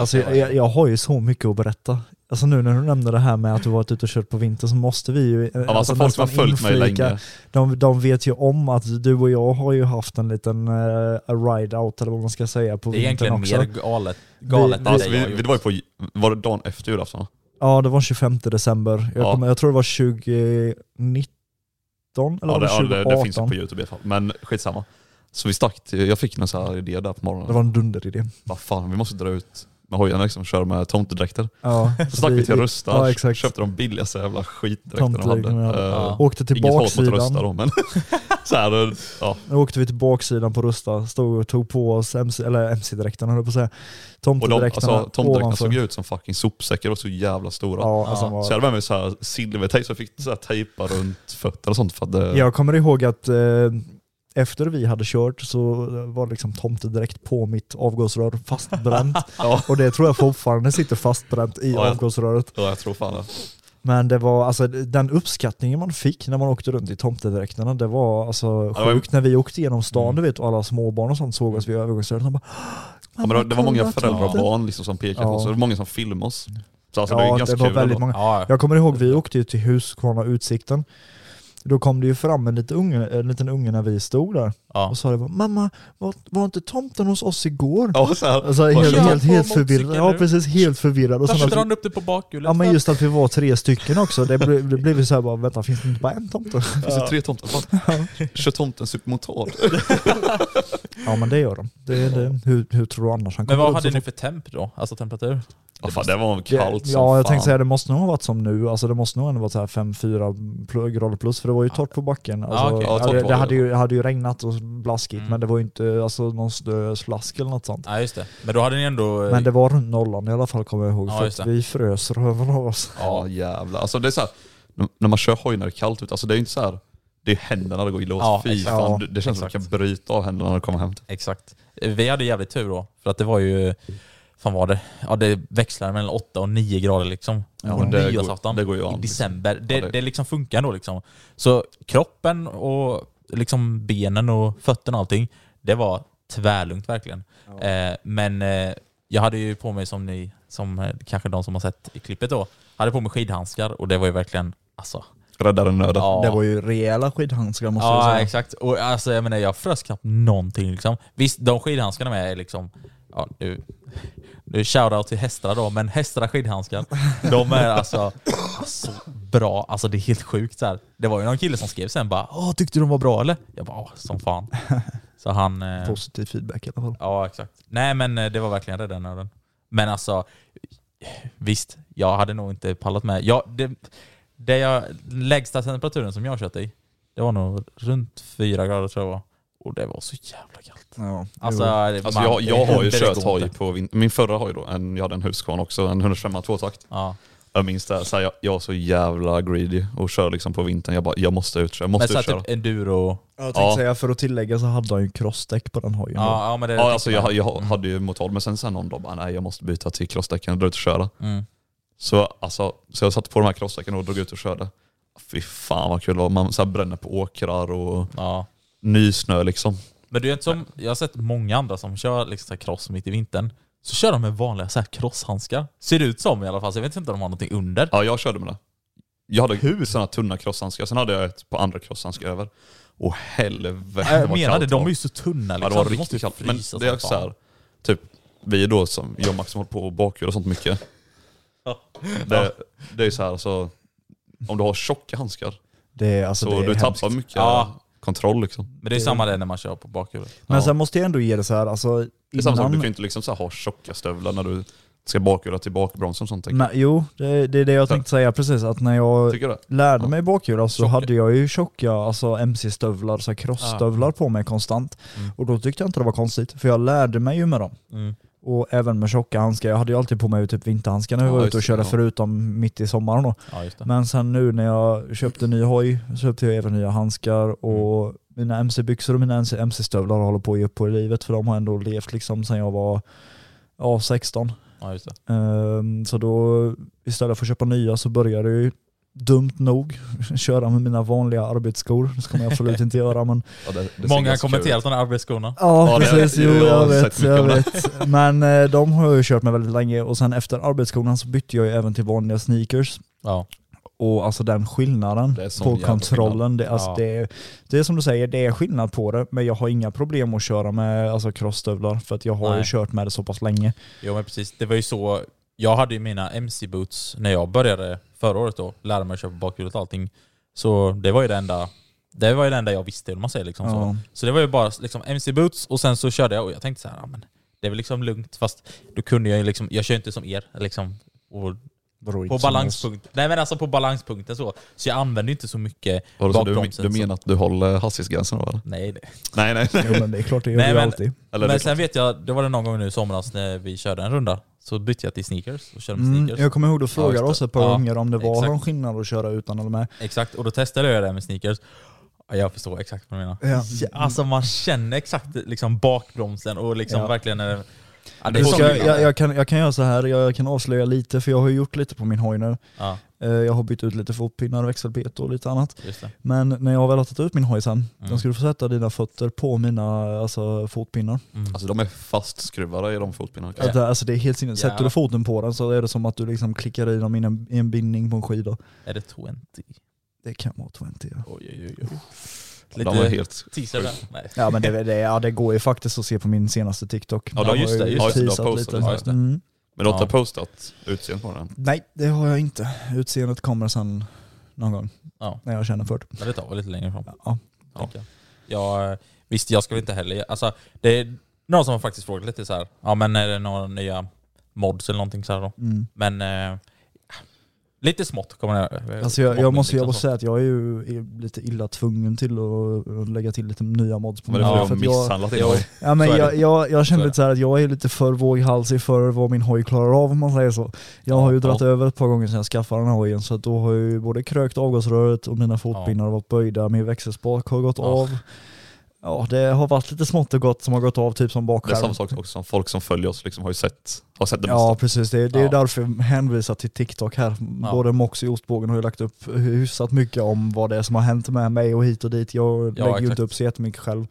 C: Alltså jag, jag, jag har ju så mycket att berätta. Alltså nu när du nämnde det här med att du varit ute och kört på vintern så måste vi ju... eh,
D: Ja, alltså, folk som har följt mig länge.
C: De, de vet ju om att du och jag har ju haft en liten eh, ride-out eller vad man ska säga på
B: Det är
C: vintern
B: egentligen
C: också.
B: mer galet, galet än
C: Vi-
D: Alltså,
B: dig jag har
D: vi, vi
B: gjort.
D: var ju på, var det dagen efter julafton? va?
C: Ja, det var 25 december. Jag,
D: Ja.
C: kommer, jag tror det var 2019 eller
D: Ja,
C: var
D: det,
C: det
D: ja,
C: 2018.
D: det, det finns ju på youtube i alla fall. Men skitsamma. Så vi stack, till- jag fick någon så här idé där på morgonen.
C: Det var en dunderidé.
D: Vad fan, vi måste dra ut med hojarna liksom, kör med tomtedräkter.
C: Ja,
D: Så stack vi till Rusta,
C: Alltså, Ja, exakt.
D: köpte de billigaste jävla skitdräkterna de hade.
C: Tomtedräkterna,
D: Eh,
B: ja.
C: Åkte till
D: Inget hat mot Rusta
C: baksidan.
D: då men så här, eh, ja.
C: Nu åkte vi till baksidan på Rusta, stod och tog på oss MC, eller MC-dräkterna höll jag på att säga.
D: Och de,
C: Tomtedräkterna
D: alltså, tomtedräkterna
C: ovanför.
D: såg ju ut som fucking sopsäckar, de var så jävla stora.
C: Ja, alltså, de var-
D: Så jag hade med mig så här silvertejp så jag fick så här tejpa runt fötterna och sånt för att det,
C: Jag kommer ihåg att eh, efter vi hade kört så var liksom tomtedräkt på mitt avgasrör fastbränt.
D: Ja.
C: Och det tror jag fortfarande sitter fastbränt i
D: Ja, ja.
C: avgasröret.
D: ja, jag tror fan det.
C: Men det var alltså den uppskattningen man fick när man åkte runt i tomtedräkterna, det var alltså
D: det var- Mm.
C: sjukt. När vi åkte genom stan, du vet, och alla småbarn och sånt såg oss vid övergångsstället. de bara,
D: Ja, men det, det var många
C: kolla
D: föräldrar och
C: tomten.
D: barn liksom som pekade
C: Ja.
D: på oss, och det var många som filmade oss. Så alltså, det är
C: Ja,
D: ganska
C: det var
D: kul
C: väldigt
D: ändå.
C: många.
B: Ja, ja.
C: Jag kommer ihåg, vi åkte ju till Huskvarna Utsikten. Då kom det ju fram en liten unge, en liten unge när vi stod där
B: Ja.
C: och sa det bara, mamma, var, var inte tomten hos oss igår?
D: Ja, så här,
C: Alltså
D: Bara,
C: helt,
B: kör
C: helt,
B: på
C: helt
B: motorcykeln
C: förvirrad. Ja
B: nu.
C: precis, helt förvirrad. Och sen
B: Varför drar
C: att,
B: han upp det på bakhjulet?
C: ja men just att vi var tre stycken också, det blev, det blev ju såhär bara, vänta finns det inte bara en tomte?
D: Finns det tre tomtar? Fan, Kör tomten supermotard?
C: Ja men det gör de. Det, det, hur, hur tror du annars han
B: Men
C: kommer
B: vad
C: upp
B: hade
C: så
B: ni för temp då? Alltså temperatur?
D: Ja, fan, det var
C: Det-
D: kallt som
C: Ja, jag
D: fan.
C: tänkte säga det måste nog ha varit som nu, alltså det måste nog ändå varit så här 5-4 grader plus, för det var ju torrt på backen. Alltså,
B: Ja, okej.
D: Ja, torrt
C: det,
D: var
C: det
D: det.
C: hade ju, hade ju regnat och blaskigt,
B: Mm.
C: men det var ju inte alltså, någon snö, slask eller något sånt.
B: Nej just det. Men då hade ni ändå... eh,
C: Men det var runt nollan i alla fall kommer jag ihåg,
B: Ja,
C: för
B: just
C: att
B: det.
C: vi frös röven av oss.
D: Ja jävlar. Alltså det är så här, n- när man kör hoj när det är kallt ute, alltså det är ju inte så här, det är händerna det går illa åt.
B: Ja,
D: Fy
B: exakt.
D: fan,
C: Ja,
D: det, det känns som att man
B: exakt.
D: kan bryta av händerna när du kommer hem. typ.
B: Exakt. Eh, Vi hade jävligt tur då. För att det var ju... Fan var det? Ja det växlade mellan 8 och 9 grader liksom.
D: Ja,
B: på
D: men det går-
B: nyårsafton.
D: det går ju an,
B: I
D: liksom.
B: december. Det,
D: Ja, det-
B: det... liksom funkar ändå liksom. Så kroppen och liksom benen och fötterna och allting. Det var tvärlugnt verkligen. Eh, men eh, jag hade ju på mig som ni, som eh, kanske de som har sett i klippet då, hade på mig skidhandskar och det var ju verkligen alltså.
D: Räddaren nöden.
B: ja.
C: Det var ju rejäla skidhandskar måste jag
B: Ja
C: säga.
B: exakt. Och alltså, jag menar jag frös knappt någonting liksom. Visst, de skidhandskarna med är liksom, ja nu, nu shoutout till Hästra då, men Hästra skidhandskar, de är alltså, alltså bra, alltså det är helt sjukt så här. Det var ju någon kille som skrev sen bara Åh, tyckte du de var bra eller? Jag bara "Ja, som fan. Så han... eh,
C: Positiv feedback i alla fall.
B: Ja, exakt. Nej, men eh, det var verkligen rädda nöden. Men alltså, visst, jag hade nog inte pallat med. Jag, det, det jag, lägsta temperaturen som jag kört i, det var nog runt fyra grader tror jag det var. Och det var så jävla kallt.
C: Ja,
B: Alltså,
C: jo.
D: Alltså
B: man-
D: jag, jag har ju
B: det
D: kört typ-
B: går
D: hoj
B: inte.
D: på vin- min förra hoj då, en, jag hade en Husqvarna också, en 125 tvåtakt.
B: Ja.
D: Jag minns det, här, så här, jag, jag var så jävla greedy och kör liksom på vintern. Jag bara, jag måste ut, jag måste
B: Men
D: ut
B: så här,
D: köra.
B: typ enduro...
C: jag tänkte
D: Ja.
C: säga, för att tillägga så hade han ju crossdäck på den hojen. då.
B: Ja, ja, men det Mm.
D: Ja, alltså jag, jag hade ju motard, men sen, sen någon dag bara, nej jag måste byta till crossdäcken och dra ut och köra.
B: Mm.
D: Så, alltså, så jag satte på de här crossdäcken och drog ut och körde. Fy fan vad kul det var. Man så här bränner på åkrar och
B: Ja.
D: ny snö liksom.
B: Men du är inte som, jag har sett många andra som kör liksom så här cross mitt i vintern. Så kör de med vanliga så här crosshandskar. Ser det ut som i alla fall, så jag vet inte om de har någonting under.
D: Ja, jag körde med det. Jag hade hur sådana tunna crosshandskar, sen hade jag ett på andra crosshandskar över. Åh helvete
B: Jag
D: vad
B: Äh, menade,
D: kallt
B: de
D: var.
B: är ju så tunna liksom.
D: Ja, det var
B: Du måste ju
D: riktigt kallt. Men
B: frysa
D: det är
B: som
D: också
B: fan.
D: såhär, typ, vi då som, jag och Max som håller på och bakhjul och sånt mycket.
B: Ja.
D: Det, det är ju såhär alltså, om du har tjocka handskar
C: Det är, alltså,
D: så
C: det är
D: du
C: hemskt.
D: tappar mycket
B: Ja.
D: kontroll liksom.
B: Men det är samma där när man kör på bakhjulet.
C: Men
D: Ja.
C: sen måste jag ändå ge det så här, alltså
D: Det är samma sak, du
C: innan-
D: kan ju inte liksom så här ha tjocka stövlar när du ska bakhjula till bakbromsen och sånt. tänker jag.
C: Men, jo, det, det är det jag
D: Så.
C: tänkte säga precis. Att när jag
D: Tycker du det?
C: lärde
D: Ja.
C: mig bakhjul alltså, så
D: Tjocka.
C: hade jag ju tjocka alltså, mc-stövlar, så här crossstövlar på mig konstant.
B: Mm.
C: Och då tyckte jag inte det var konstigt, för jag lärde mig ju med dem.
B: Mm.
C: Och även med tjocka handskar. Jag hade ju alltid på mig typ vinterhandskar när jag
D: Ja,
C: var
D: just
C: ute och
D: det,
C: körde,
D: ja.
C: förutom mitt i sommaren då.
B: Ja, just det.
C: Men sen nu när jag köpte ny hoj så köpte jag även nya
D: Mm.
C: handskar och mina mc-byxor och mina mc-stövlar håller på att ge upp på i livet för de har ändå levt liksom sedan jag var ja, 16.
B: Ja, just det.
C: Ehm, Så då istället för att köpa nya så började jag ju dumt nog köra med mina vanliga arbetsskor. Det ska man absolut inte göra men...
D: Ja, det, det ser
B: Många har
D: ganska kul ut.
B: kommenterat de där arbetsskorna.
C: Ja
D: Ja, det-
C: precis, jo
D: jag har
C: jag vet,
D: sett mycket
C: jag
D: om det.
C: vet. Men eh, de har jag ju kört med väldigt länge och sen efter arbetsskorna så bytte jag ju även till vanliga sneakers.
B: Ja.
C: Och alltså den skillnaden
D: Det är sån
C: på
D: jävla
C: kontrollen, det, alltså
B: Ja.
C: det, är, det är som du säger, det är skillnad på det men jag har inga problem att köra med alltså, crossstövlar för att jag har ju
B: Nej.
C: kört med det så pass länge.
B: Jo men precis, det var ju så. Jag hade ju mina MC-boots när jag började förra året då, lärde mig att köpa bakhjulet och allting. Så det var ju det enda, det var ju det enda jag visste, om man säger liksom
C: Ja.
B: så. Så det var ju bara liksom MC-boots och sen så körde jag och jag tänkte så här, ja, men det är väl liksom lugnt. Fast då kunde jag ju liksom, jag kör ju inte som er liksom. Och på balanspunkt. Nej men alltså på balanspunkten så. Så jag använder ju inte så mycket
D: Vadå, så du,
B: bakbromsen.
D: du
B: så-
D: menar att du håller hastighetsgränsen då eller?
B: Nej, det.
D: Nej nej.
C: Jo men det är klart, det gör
B: Nej,
C: du
B: men-
C: alltid.
D: Eller liksom- det
B: men
D: är klart.
B: sen vet jag, det var det någon gång nu i somras när vi körde en runda, så bytte jag till sneakers och körde med
C: Mm,
B: sneakers.
C: jag kommer ihåg du frågade
B: just det.
C: oss ett par
B: Ja,
C: gånger om det var
B: exakt.
C: någon skillnad att köra utan eller med.
B: Exakt, och då testade jag det med sneakers. Ja, Jag förstår exakt vad du menar.
C: Ja.
B: Ja, Alltså man känner exakt liksom bakbromsen och liksom
C: Ja.
B: verkligen... eh, Ja, det
C: Du
B: är
C: ska,
B: sån
C: jag,
B: skillnad.
C: jag, kan, jag kan göra så här, jag kan avslöja lite för jag har ju gjort lite på min hoj nu.
B: Ja,
C: Eh, Jag har bytt ut lite fotpinnar, växelbete och lite annat.
B: just det.
C: Men när jag väl har tagit ut min hoj sen,
B: Mm.
C: då ska du få sätta dina fötter på mina alltså, fotpinnar.
B: Mm.
D: Alltså de är fastskruvade i de fotpinnarna.
B: Ja.
C: Att det- Alltså det är helt sinnes. Sätter
B: Jävlar.
C: du foten på den så är det som att du liksom klickar i dem i en, i en bindning på en skida.
B: Är det 20? Oj,
C: Det kan vara 20 ja.
B: oj, oj. oj.
D: De är
B: Lite
D: helt
B: teaser där. Nej.
C: Ja men det, det, ja, det går ju faktiskt att se på min senaste TikTok.
D: Ja,
C: Där
B: just
C: har
B: det,
C: jag ju
B: just
D: det. Du har
C: teasat
D: postat
C: lite.
B: det, ja, just det.
C: Mm.
D: Men du har inte
B: Ja.
D: postat utseendet på den?
C: Nej det har jag inte. Utseendet kommer sen någon gång.
B: Ja.
C: När jag känner för det.
B: Men det tar väl lite längre fram.
C: Ja.
B: Ja. tänker Jag. Jag, eh, visst, jag ska väl inte heller... Alltså, det är någon som har faktiskt frågat lite så här. Ja, men är det några nya mods eller någonting så här då?
C: Mm.
B: Men eh, lite smått kommer det.
C: Alltså jag, jag,
B: smått,
C: måste,
B: liksom
C: jag måste
B: så.
C: säga att jag är ju är lite illa tvungen till att att lägga till lite nya mods på
D: Men
C: min
D: det är
B: Ja,
C: hoj,
D: för
C: för
D: du
C: att
D: har
C: jag,
D: misshandlat din
B: Jo.
D: hoj.
C: ja, men
B: Så är
C: jag,
B: det.
C: jag, jag kände
B: är
C: lite så här att jag är lite för våghalsig för vad min hoj klarar av om man säger så. Jag har ju
B: Ja.
C: dragit över ett par gånger sedan jag skaffade den här hojen så att då har jag ju både krökt avgasröret och mina fotpinnar har varit böjda, min växelspak har gått
B: Ja.
C: av. Ja det har varit lite smått och gott som har gått av typ som
D: Det är
C: bakskärm.
D: samma sak också som folk som följer oss liksom har ju sett, har sett det
C: Ja
D: mesta.
C: precis, det, det är
B: Ja.
C: därför jag hänvisar till TikTok här.
B: Ja.
C: Både Mox och Ostbågen har ju lagt upp hyfsat mycket om vad det är som har hänt med mig och hit och dit. Jag lägger ju
B: exakt.
C: inte upp så jättemycket själv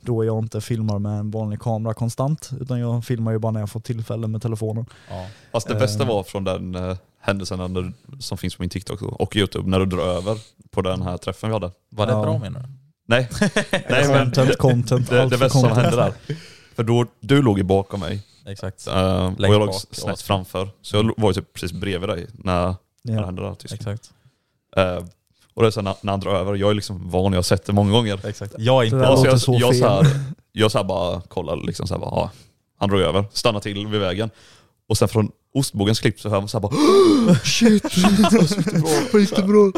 C: då jag inte filmar med en vanlig kamera konstant, utan jag filmar ju bara när jag får tillfälle med telefonen.
B: Ja.
D: Fast det
C: Eh.
D: bästa var från den eh, händelsen när du, som finns på min TikTok och- och YouTube, när du drar över på den här träffen vi hade.
B: Var det
C: Ja.
B: bra menar du?
D: Nej, nej men
C: content, content,
D: det,
C: allt
D: det
C: för
D: bästa som
C: content.
D: hände där. För då, du låg ju bakom mig
B: Exakt.
D: eh, och
B: Längst
D: jag låg
B: bak,
D: snett
B: ja.
D: framför. Så jag lo- var ju typ precis bredvid dig när det
C: Ja.
D: hände där. Tyst.
B: Exakt.
D: Eh, och det är så här, när, när han drar över, jag är liksom van, jag har sett det många gånger.
B: Exakt. Jag är
C: Det där
B: inte...
D: Ja, så
C: låter
D: jag,
C: så
D: jag,
C: fel.
D: så här, jag så här bara kollar liksom så här bara, ja. han drog över, stannar till vid vägen. Och sen från ostbågens klipp så hör man så här bara
C: Shit! Vad gick det bra?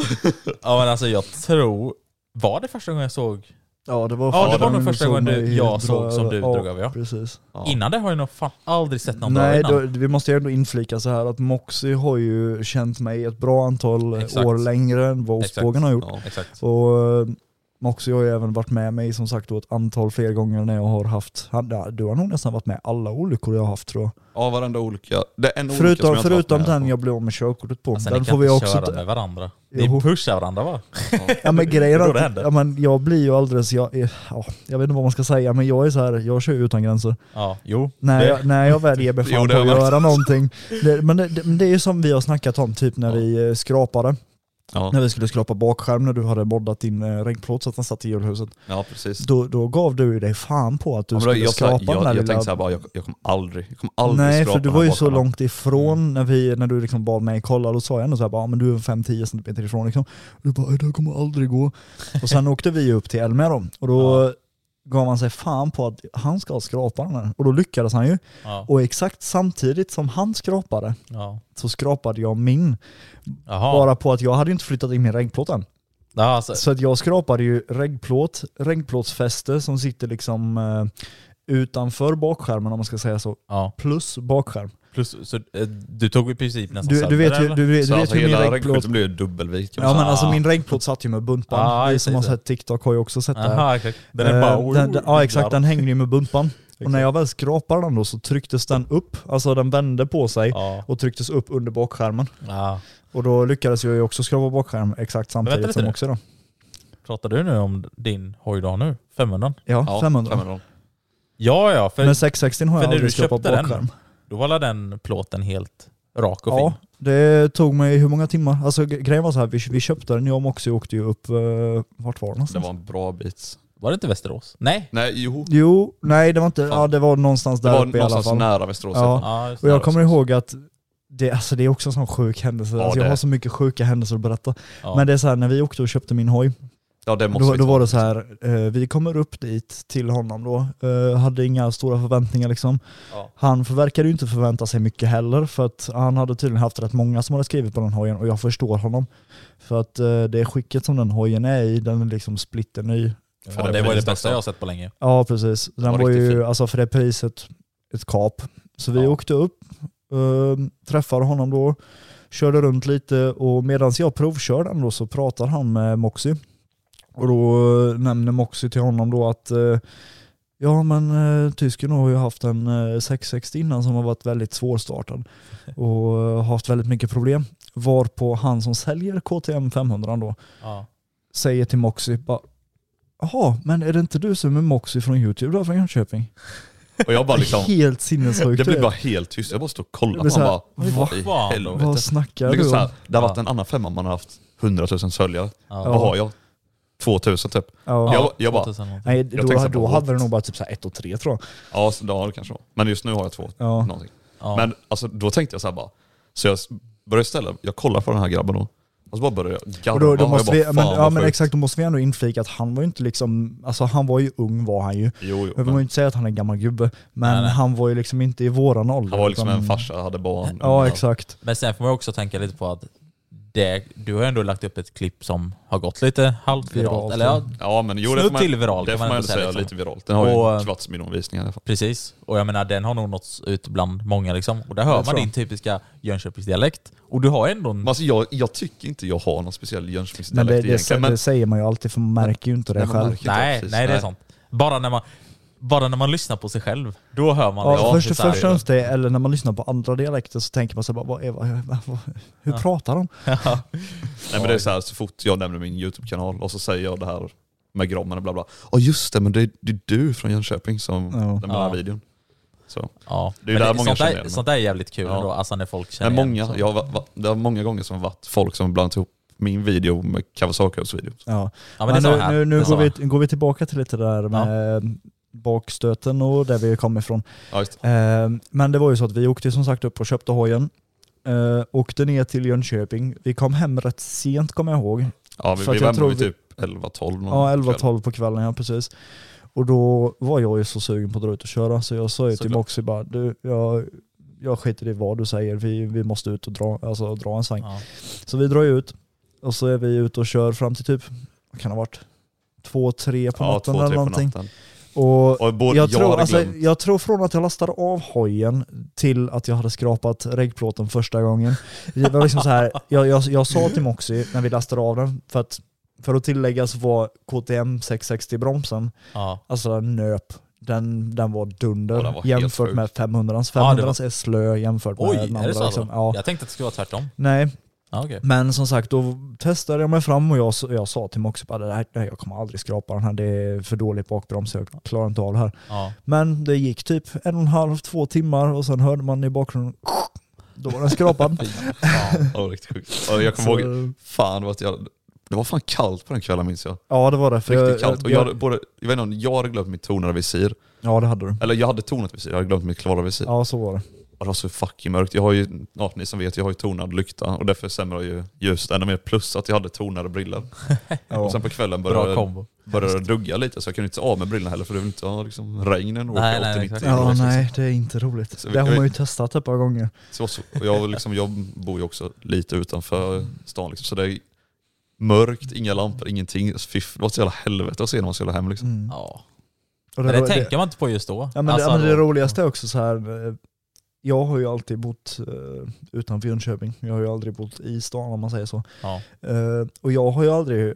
B: Ja men alltså jag tror... Var det första gången jag såg?
C: Ja det var,
B: Ja, det
C: första
B: var nog
C: gången
B: första
C: du såg
B: gången du-
C: mig
B: jag
C: dra
B: såg som du
C: över.
B: drog över, ja.
C: Precis.
D: Ja.
B: Innan det har jag nog fan aldrig sett någon dra
C: Nej,
B: innan.
C: då, vi måste ju ändå inflika så här att Moxie har ju känt mig ett bra antal
B: Exakt.
C: år längre än vad
B: Exakt.
C: Ostbågen har gjort.
D: Ja.
B: Exakt.
C: Och eh, Moxie har ju även varit med mig som sagt då ett antal fler gånger när jag har haft, han, ja, du har nog nästan varit med alla olyckor jag har haft tror jag.
D: Ja, varenda olika. Det är en olycka som
C: Förutom,
D: jag inte
C: förutom
D: varit med
C: den
D: på.
C: jag blev av med körkortet på.
B: Alltså,
C: den
B: ni
C: får
B: kan
C: vi
B: inte
C: också...
B: köra med varandra.
C: Jo.
B: Ni pushar varandra va?
C: Ja men grejen
B: Det är då
C: är
B: det
C: att,
B: händer.
C: ja, men jag blir ju alldeles, jag, är- ja, jag vet inte vad man ska säga men jag är så här, jag kör ju utan gränser.
B: Ja, jo.
C: När
B: det,
C: jag, när jag väl ger mig
D: Jo,
C: fan
D: det
C: på
D: har
C: att
D: man.
C: göra någonting. Det, men det, det, men det är ju som vi har snackat om typ när vi eh, skrapade.
D: Ja.
C: När vi skulle skrapa bakskärm när du hade moddat din eh, regnplåt så att den satt i hjulhuset.
D: ja, precis.
C: Då, då gav du ju dig fan på att du
D: Ja, men då-
C: skulle
D: jag, sa-
C: skrapa
D: jag,
C: den där
D: jag,
C: lilla...
D: tänkte såhär bara, jag, jag kommer aldrig, jag kommer aldrig
C: Nej,
D: skrapa
C: för du
D: den
C: var
D: här Mm.
C: ju så
D: bakarna.
C: långt ifrån när, vi, när du liksom bad mig kolla, då sa jag ändå såhär bara, "Ja, men du är 5-10 cm ifrån liksom. Du bara, "Nej, det här kommer aldrig gå. Och sen åkte vi ju upp till Elmia då, och då gav han sig fan på att han ska skrapa den här. Och då lyckades han ju.
B: Ja,
C: Och exakt samtidigt som han skrapade
B: ja.
C: så skrapade jag min.
B: Jaha.
C: Bara på att jag hade ju inte flyttat in min regnplåt än.
B: Ja, alltså,
C: Så att jag skrapade ju regnplåt, regnplåtsfäste som sitter liksom eh, utanför bakskärmen om man ska säga så,
B: ja.
C: plus bakskärm.
B: Plus, så, eh, du tog i princip nästan
C: Du, du vet ju, du, vet-
D: Så
C: du vet
D: alltså
C: hur min
D: hela
C: regnplåt...
D: regnskylten blev ju dubbelvikt. kan man
C: Ja men
D: säga.
C: alltså min regnplåt satt ju med buntband.
B: Ah,
C: Ni
B: just
C: som
B: det,
C: har
B: just det.
C: sett TikTok har ju också sett det här.
B: Aha, exakt. Den är bara...
C: Eh, den, den, ja exakt, den hängde ju med buntband. Och när jag väl skrapade den då så trycktes den upp, alltså den vände på sig
B: Ja.
C: och trycktes upp under bakskärmen.
B: ja.
C: Och då lyckades jag ju också skrapa bakskärm exakt
B: vänta
C: samtidigt
B: lite
C: som
B: nu.
C: också då.
B: Pratar du nu om din hoj då nu? 500?
C: Ja,
D: Ja,
C: 500.
D: 500.
B: Ja, ja, för
C: Men 660 har
B: för
C: jag
B: när du
C: aldrig skrapat
B: köpte den,
C: bakskärm.
B: då var alla den plåten helt rak och
C: Ja,
B: fin.
C: det tog mig hur många timmar? Alltså gre- grejen var så här, vi, vi köpte den, jag och Moxie åkte ju upp, eh, vart var det
D: Det
C: någonstans?
D: var en bra bit.
B: Var det inte Västerås? Nej.
D: Nej, jo.
C: Jo, nej det var inte,
D: Fan.
C: ja det var någonstans
D: Det
C: där
D: var
C: uppe i alla
D: någonstans
C: fall.
D: nära Västerås.
C: Ja.
B: Ja, just
C: Och jag
B: det.
C: kommer ihåg att det, alltså det är också en sån sjuk händelse,
D: Ja,
C: alltså, jag
D: det.
C: har så mycket sjuka händelser att berätta.
B: Ja.
C: Men det är så här, när vi åkte och köpte min hoj,
D: Ja det måste liksom-
C: Då,
D: vi
C: då
D: ta.
C: var det så här, eh, vi kommer upp dit till honom då, eh, hade inga stora förväntningar liksom.
D: Ja.
C: Han verkade ju inte förvänta sig mycket heller, för att han hade tydligen haft rätt många som hade skrivit på den hojen och jag förstår honom. För att eh, det skicket som den hojen är i, den är liksom splitterny.
D: För
B: det var det
D: priset
B: bästa jag
D: också.
B: har sett på länge.
C: Ja precis, den
D: var
C: var,
D: riktigt
C: ju,
D: fin.
C: alltså för det priset, ett kap. Så vi
D: Ja.
C: åkte upp, eh, träffade honom då, körde runt lite och medan jag provkör den då så pratar han med Moxie. Och då eh, nämner Moxie till honom då att eh, ja men eh, tysken har ju haft en eh, 660 innan som har varit väldigt svårstartad och eh, haft väldigt mycket problem. Varpå han som säljer KTM 500 då
B: Ja.
C: säger till Moxie bara Jaha, men är det inte du som är Moxie från Youtube då från Jönköping?
D: Och jag bara liksom,
C: Helt sinnessjukt.
D: det
C: du
D: blev
C: är.
D: bara helt tyst. Jag bara stod och kollade
C: Det
D: på
C: blir
D: honom
C: så här,
D: bara, vad i
B: vad fan?
D: helvete.
C: Vad snackar
D: Liksom
C: du
D: så här,
C: om?
D: det har varit
B: Ja.
D: en annan femma man har haft 100 000 följare.
B: Ja.
D: Vad har jag? 2000 typ.
C: Ja.
D: Jag, jag bara,
B: 2000 någonting.
C: Nej,
D: tänkte så
C: då,
D: här,
C: då
D: what?
C: hade det nog bara typ så här 1 och 3 tror jag.
D: ja så- ja, det kanske var. Men just nu har jag två
C: Ja.
D: någonting.
B: Ja.
D: Men alltså, då tänkte jag så här bara, så jag s- började ställa, jag kollar på den här grabben då. Och så bara började jag garva.
C: Och då, då
D: Och
C: måste
D: jag
C: vi,
D: bara,
C: men,
D: fan,
C: ja
D: vad
C: men
D: sjukt.
C: exakt, då måste vi ändå inflika att han var ju inte liksom, alltså han var ju ung var han ju.
D: Jo, jo,
C: Men vi
D: men
C: får ju inte säga att han är en gammal gubbe, men
B: Nej, nej.
C: han var ju liksom inte i våran ålder.
D: han var liksom
C: utan-
D: en farsa, hade barn.
C: Ja exakt.
B: Men sen får man också tänka lite på att det, du har ändå lagt upp ett klipp som har gått lite halvviralt.
C: Viralt,
B: Eller ja,
D: Ja men jo, det
B: Snudd
D: får man,
B: till viralt,
D: det
B: kan
D: får
B: man ändå
D: man ändå
B: säga,
D: säga
B: liksom.
D: lite viralt. Den har ju
B: Och-
D: en kvarts miljon visningar i alla fall.
B: precis. Och jag menar den har nog nåtts ut bland många liksom. Och där hör
C: Jag
B: man
C: tror.
B: din typiska Jönköpingsdialekt. Och du har ändå en...
D: Men alltså, jag, jag tycker inte jag har någon speciell
C: Men det,
D: Jönköpingsdialekt
C: det, det,
D: egentligen. Men
C: säger man ju alltid för man märker ju inte det
D: Nej, man
C: själv.
D: märker-
B: Nej,
D: precis.
B: nej det är
D: Nej.
B: sant. Bara när man, bara när man lyssnar på sig själv, då hör man
C: Ja, först
B: hur
C: och
B: så här-
C: främst känns det, eller när man lyssnar på andra dialekter så tänker man sig bara, vad är, vad, vad, vad, hur pratar de?
D: Nej men det är så här, så fort jag nämner min YouTube-kanal och så säger jag det här med grommen och bla bla. Ja just det, men det är, det är du från Jönköping som
C: Ja.
D: nämner den här
B: Ja.
D: videon. Så.
B: Ja.
D: Det är ju
B: Men
D: där många
B: sånt,
D: känner
B: där,
D: igen mig.
B: sånt där är jävligt kul
D: Ja.
B: ändå, alltså när folk känner
D: Men
B: igen
D: många,
B: så.
D: jag, har- va, det har många gånger som varit folk som blandat ihop min video med Kawasakios video.
C: Ja.
B: Ja, men
C: Men
B: det är så
C: nu,
B: här.
C: nu,
B: Det
C: nu
B: är så
C: går,
B: här.
C: vi, går vi tillbaka till lite det där med bakstöten och där vi kom ifrån.
D: Ja, just. det.
C: Eh, men det var ju så att vi åkte som sagt upp och köpte hojen. Eh, åkte ner till Jönköping. Vi kom hem rätt sent kommer jag
B: Mm,
C: ihåg.
D: ja vi,
C: För att
D: vi
C: jag
D: var ändå
C: tror
D: vid
C: vi-
D: typ 11-12
C: Ja, 11-12 på kvällen, ja precis. Och då var jag ju så sugen på att dra ut och köra så jag sa ju till
D: Såklart.
C: Moxie bara, du, jag, jag skiter i vad du säger, vi, vi måste ut och dra, alltså, dra en sväng.
B: Ja.
C: Så vi drar ju ut och så är vi ute och kör fram till typ, vad kan det ha varit? Två, tre på
D: Ja,
C: natten
D: två, tre
C: eller
D: på
C: någonting.
D: natten.
C: Och
D: Och både
C: jag, tror,
D: hade
C: alltså,
D: glömt-
C: jag tror från att jag lastade av hojen till att jag hade skrapat regplåten första gången. Det var liksom så här, jag, jag, jag sa till Moxie när vi lastade av den, för att, för att tillägga så var KTM 660-bromsen,
B: Ja.
C: alltså den nöp, den, den var dunder
D: Ja, den var helt
C: jämfört
D: sjuk.
C: med 500
B: Ja, det
C: 500 är slö jämfört med
B: Oj,
C: den
B: är
C: andra.
B: det så?
C: liksom.
B: då?
C: ja.
B: Jag tänkte att det skulle vara tvärtom.
C: Nej,
B: Ja, okej.
C: men som sagt, då testade jag mig fram och jag, s- jag sa till Moxie att det här, det här- jag kommer aldrig skrapa den här, det är för dålig bakbroms, jag klarar inte av det här.
B: Ja.
C: Men det gick typ en och en halv, två timmar och sen hörde man i bakgrunden då var den skrapad.
D: Ja, det var riktigt sjukt. Och jag kommer ihåg, fan vad jag... Det var fan kallt på den kvällen minns jag.
C: Ja det var det. För
D: Riktigt
C: jag-
D: kallt. Och jag,
C: jag-
D: hade både, jag vet inte om jag hade glömt mitt tonade visir.
C: ja det hade du.
D: Eller jag hade tonat visir, jag hade glömt mitt klara visir.
C: Ja så var det.
D: Och det var så fucking mörkt. Jag har ju, ja, ni som vet, jag har ju tonad lykta och därför sämrar ju ljuset ännu mer. Plus att jag hade tonade briller.
C: Ja.
D: Och sen på kvällen
B: Bra
D: började,
B: kombo.
D: började det dugga lite så jag kunde inte ta av mig brillorna heller för det vill inte ha liksom, regnen och
B: Nej,
D: åka
B: nej,
D: 80-90.
B: exakt.
C: Ja
D: liksom.
C: nej det är inte roligt.
D: Så
C: det har
D: jag-
C: man ju testat ett par gånger.
D: Så, så, och jag, var liksom, jag bor ju också lite utanför stan liksom, så det är mörkt, inga lampor, ingenting. Fy, det var ett jävla helvete att se när man skulle hem liksom.
C: Mm.
B: Ja.
C: Och
B: Men det,
C: det,
B: tänker man inte på just då.
C: ja, men
B: Alltså,
C: det, men det
B: då-
C: roligaste är också så här. eh, jag har ju alltid bott eh, utanför Jönköping. Jag har ju aldrig bott i stan om man säger så.
B: Ja.
C: Eh, och jag har ju aldrig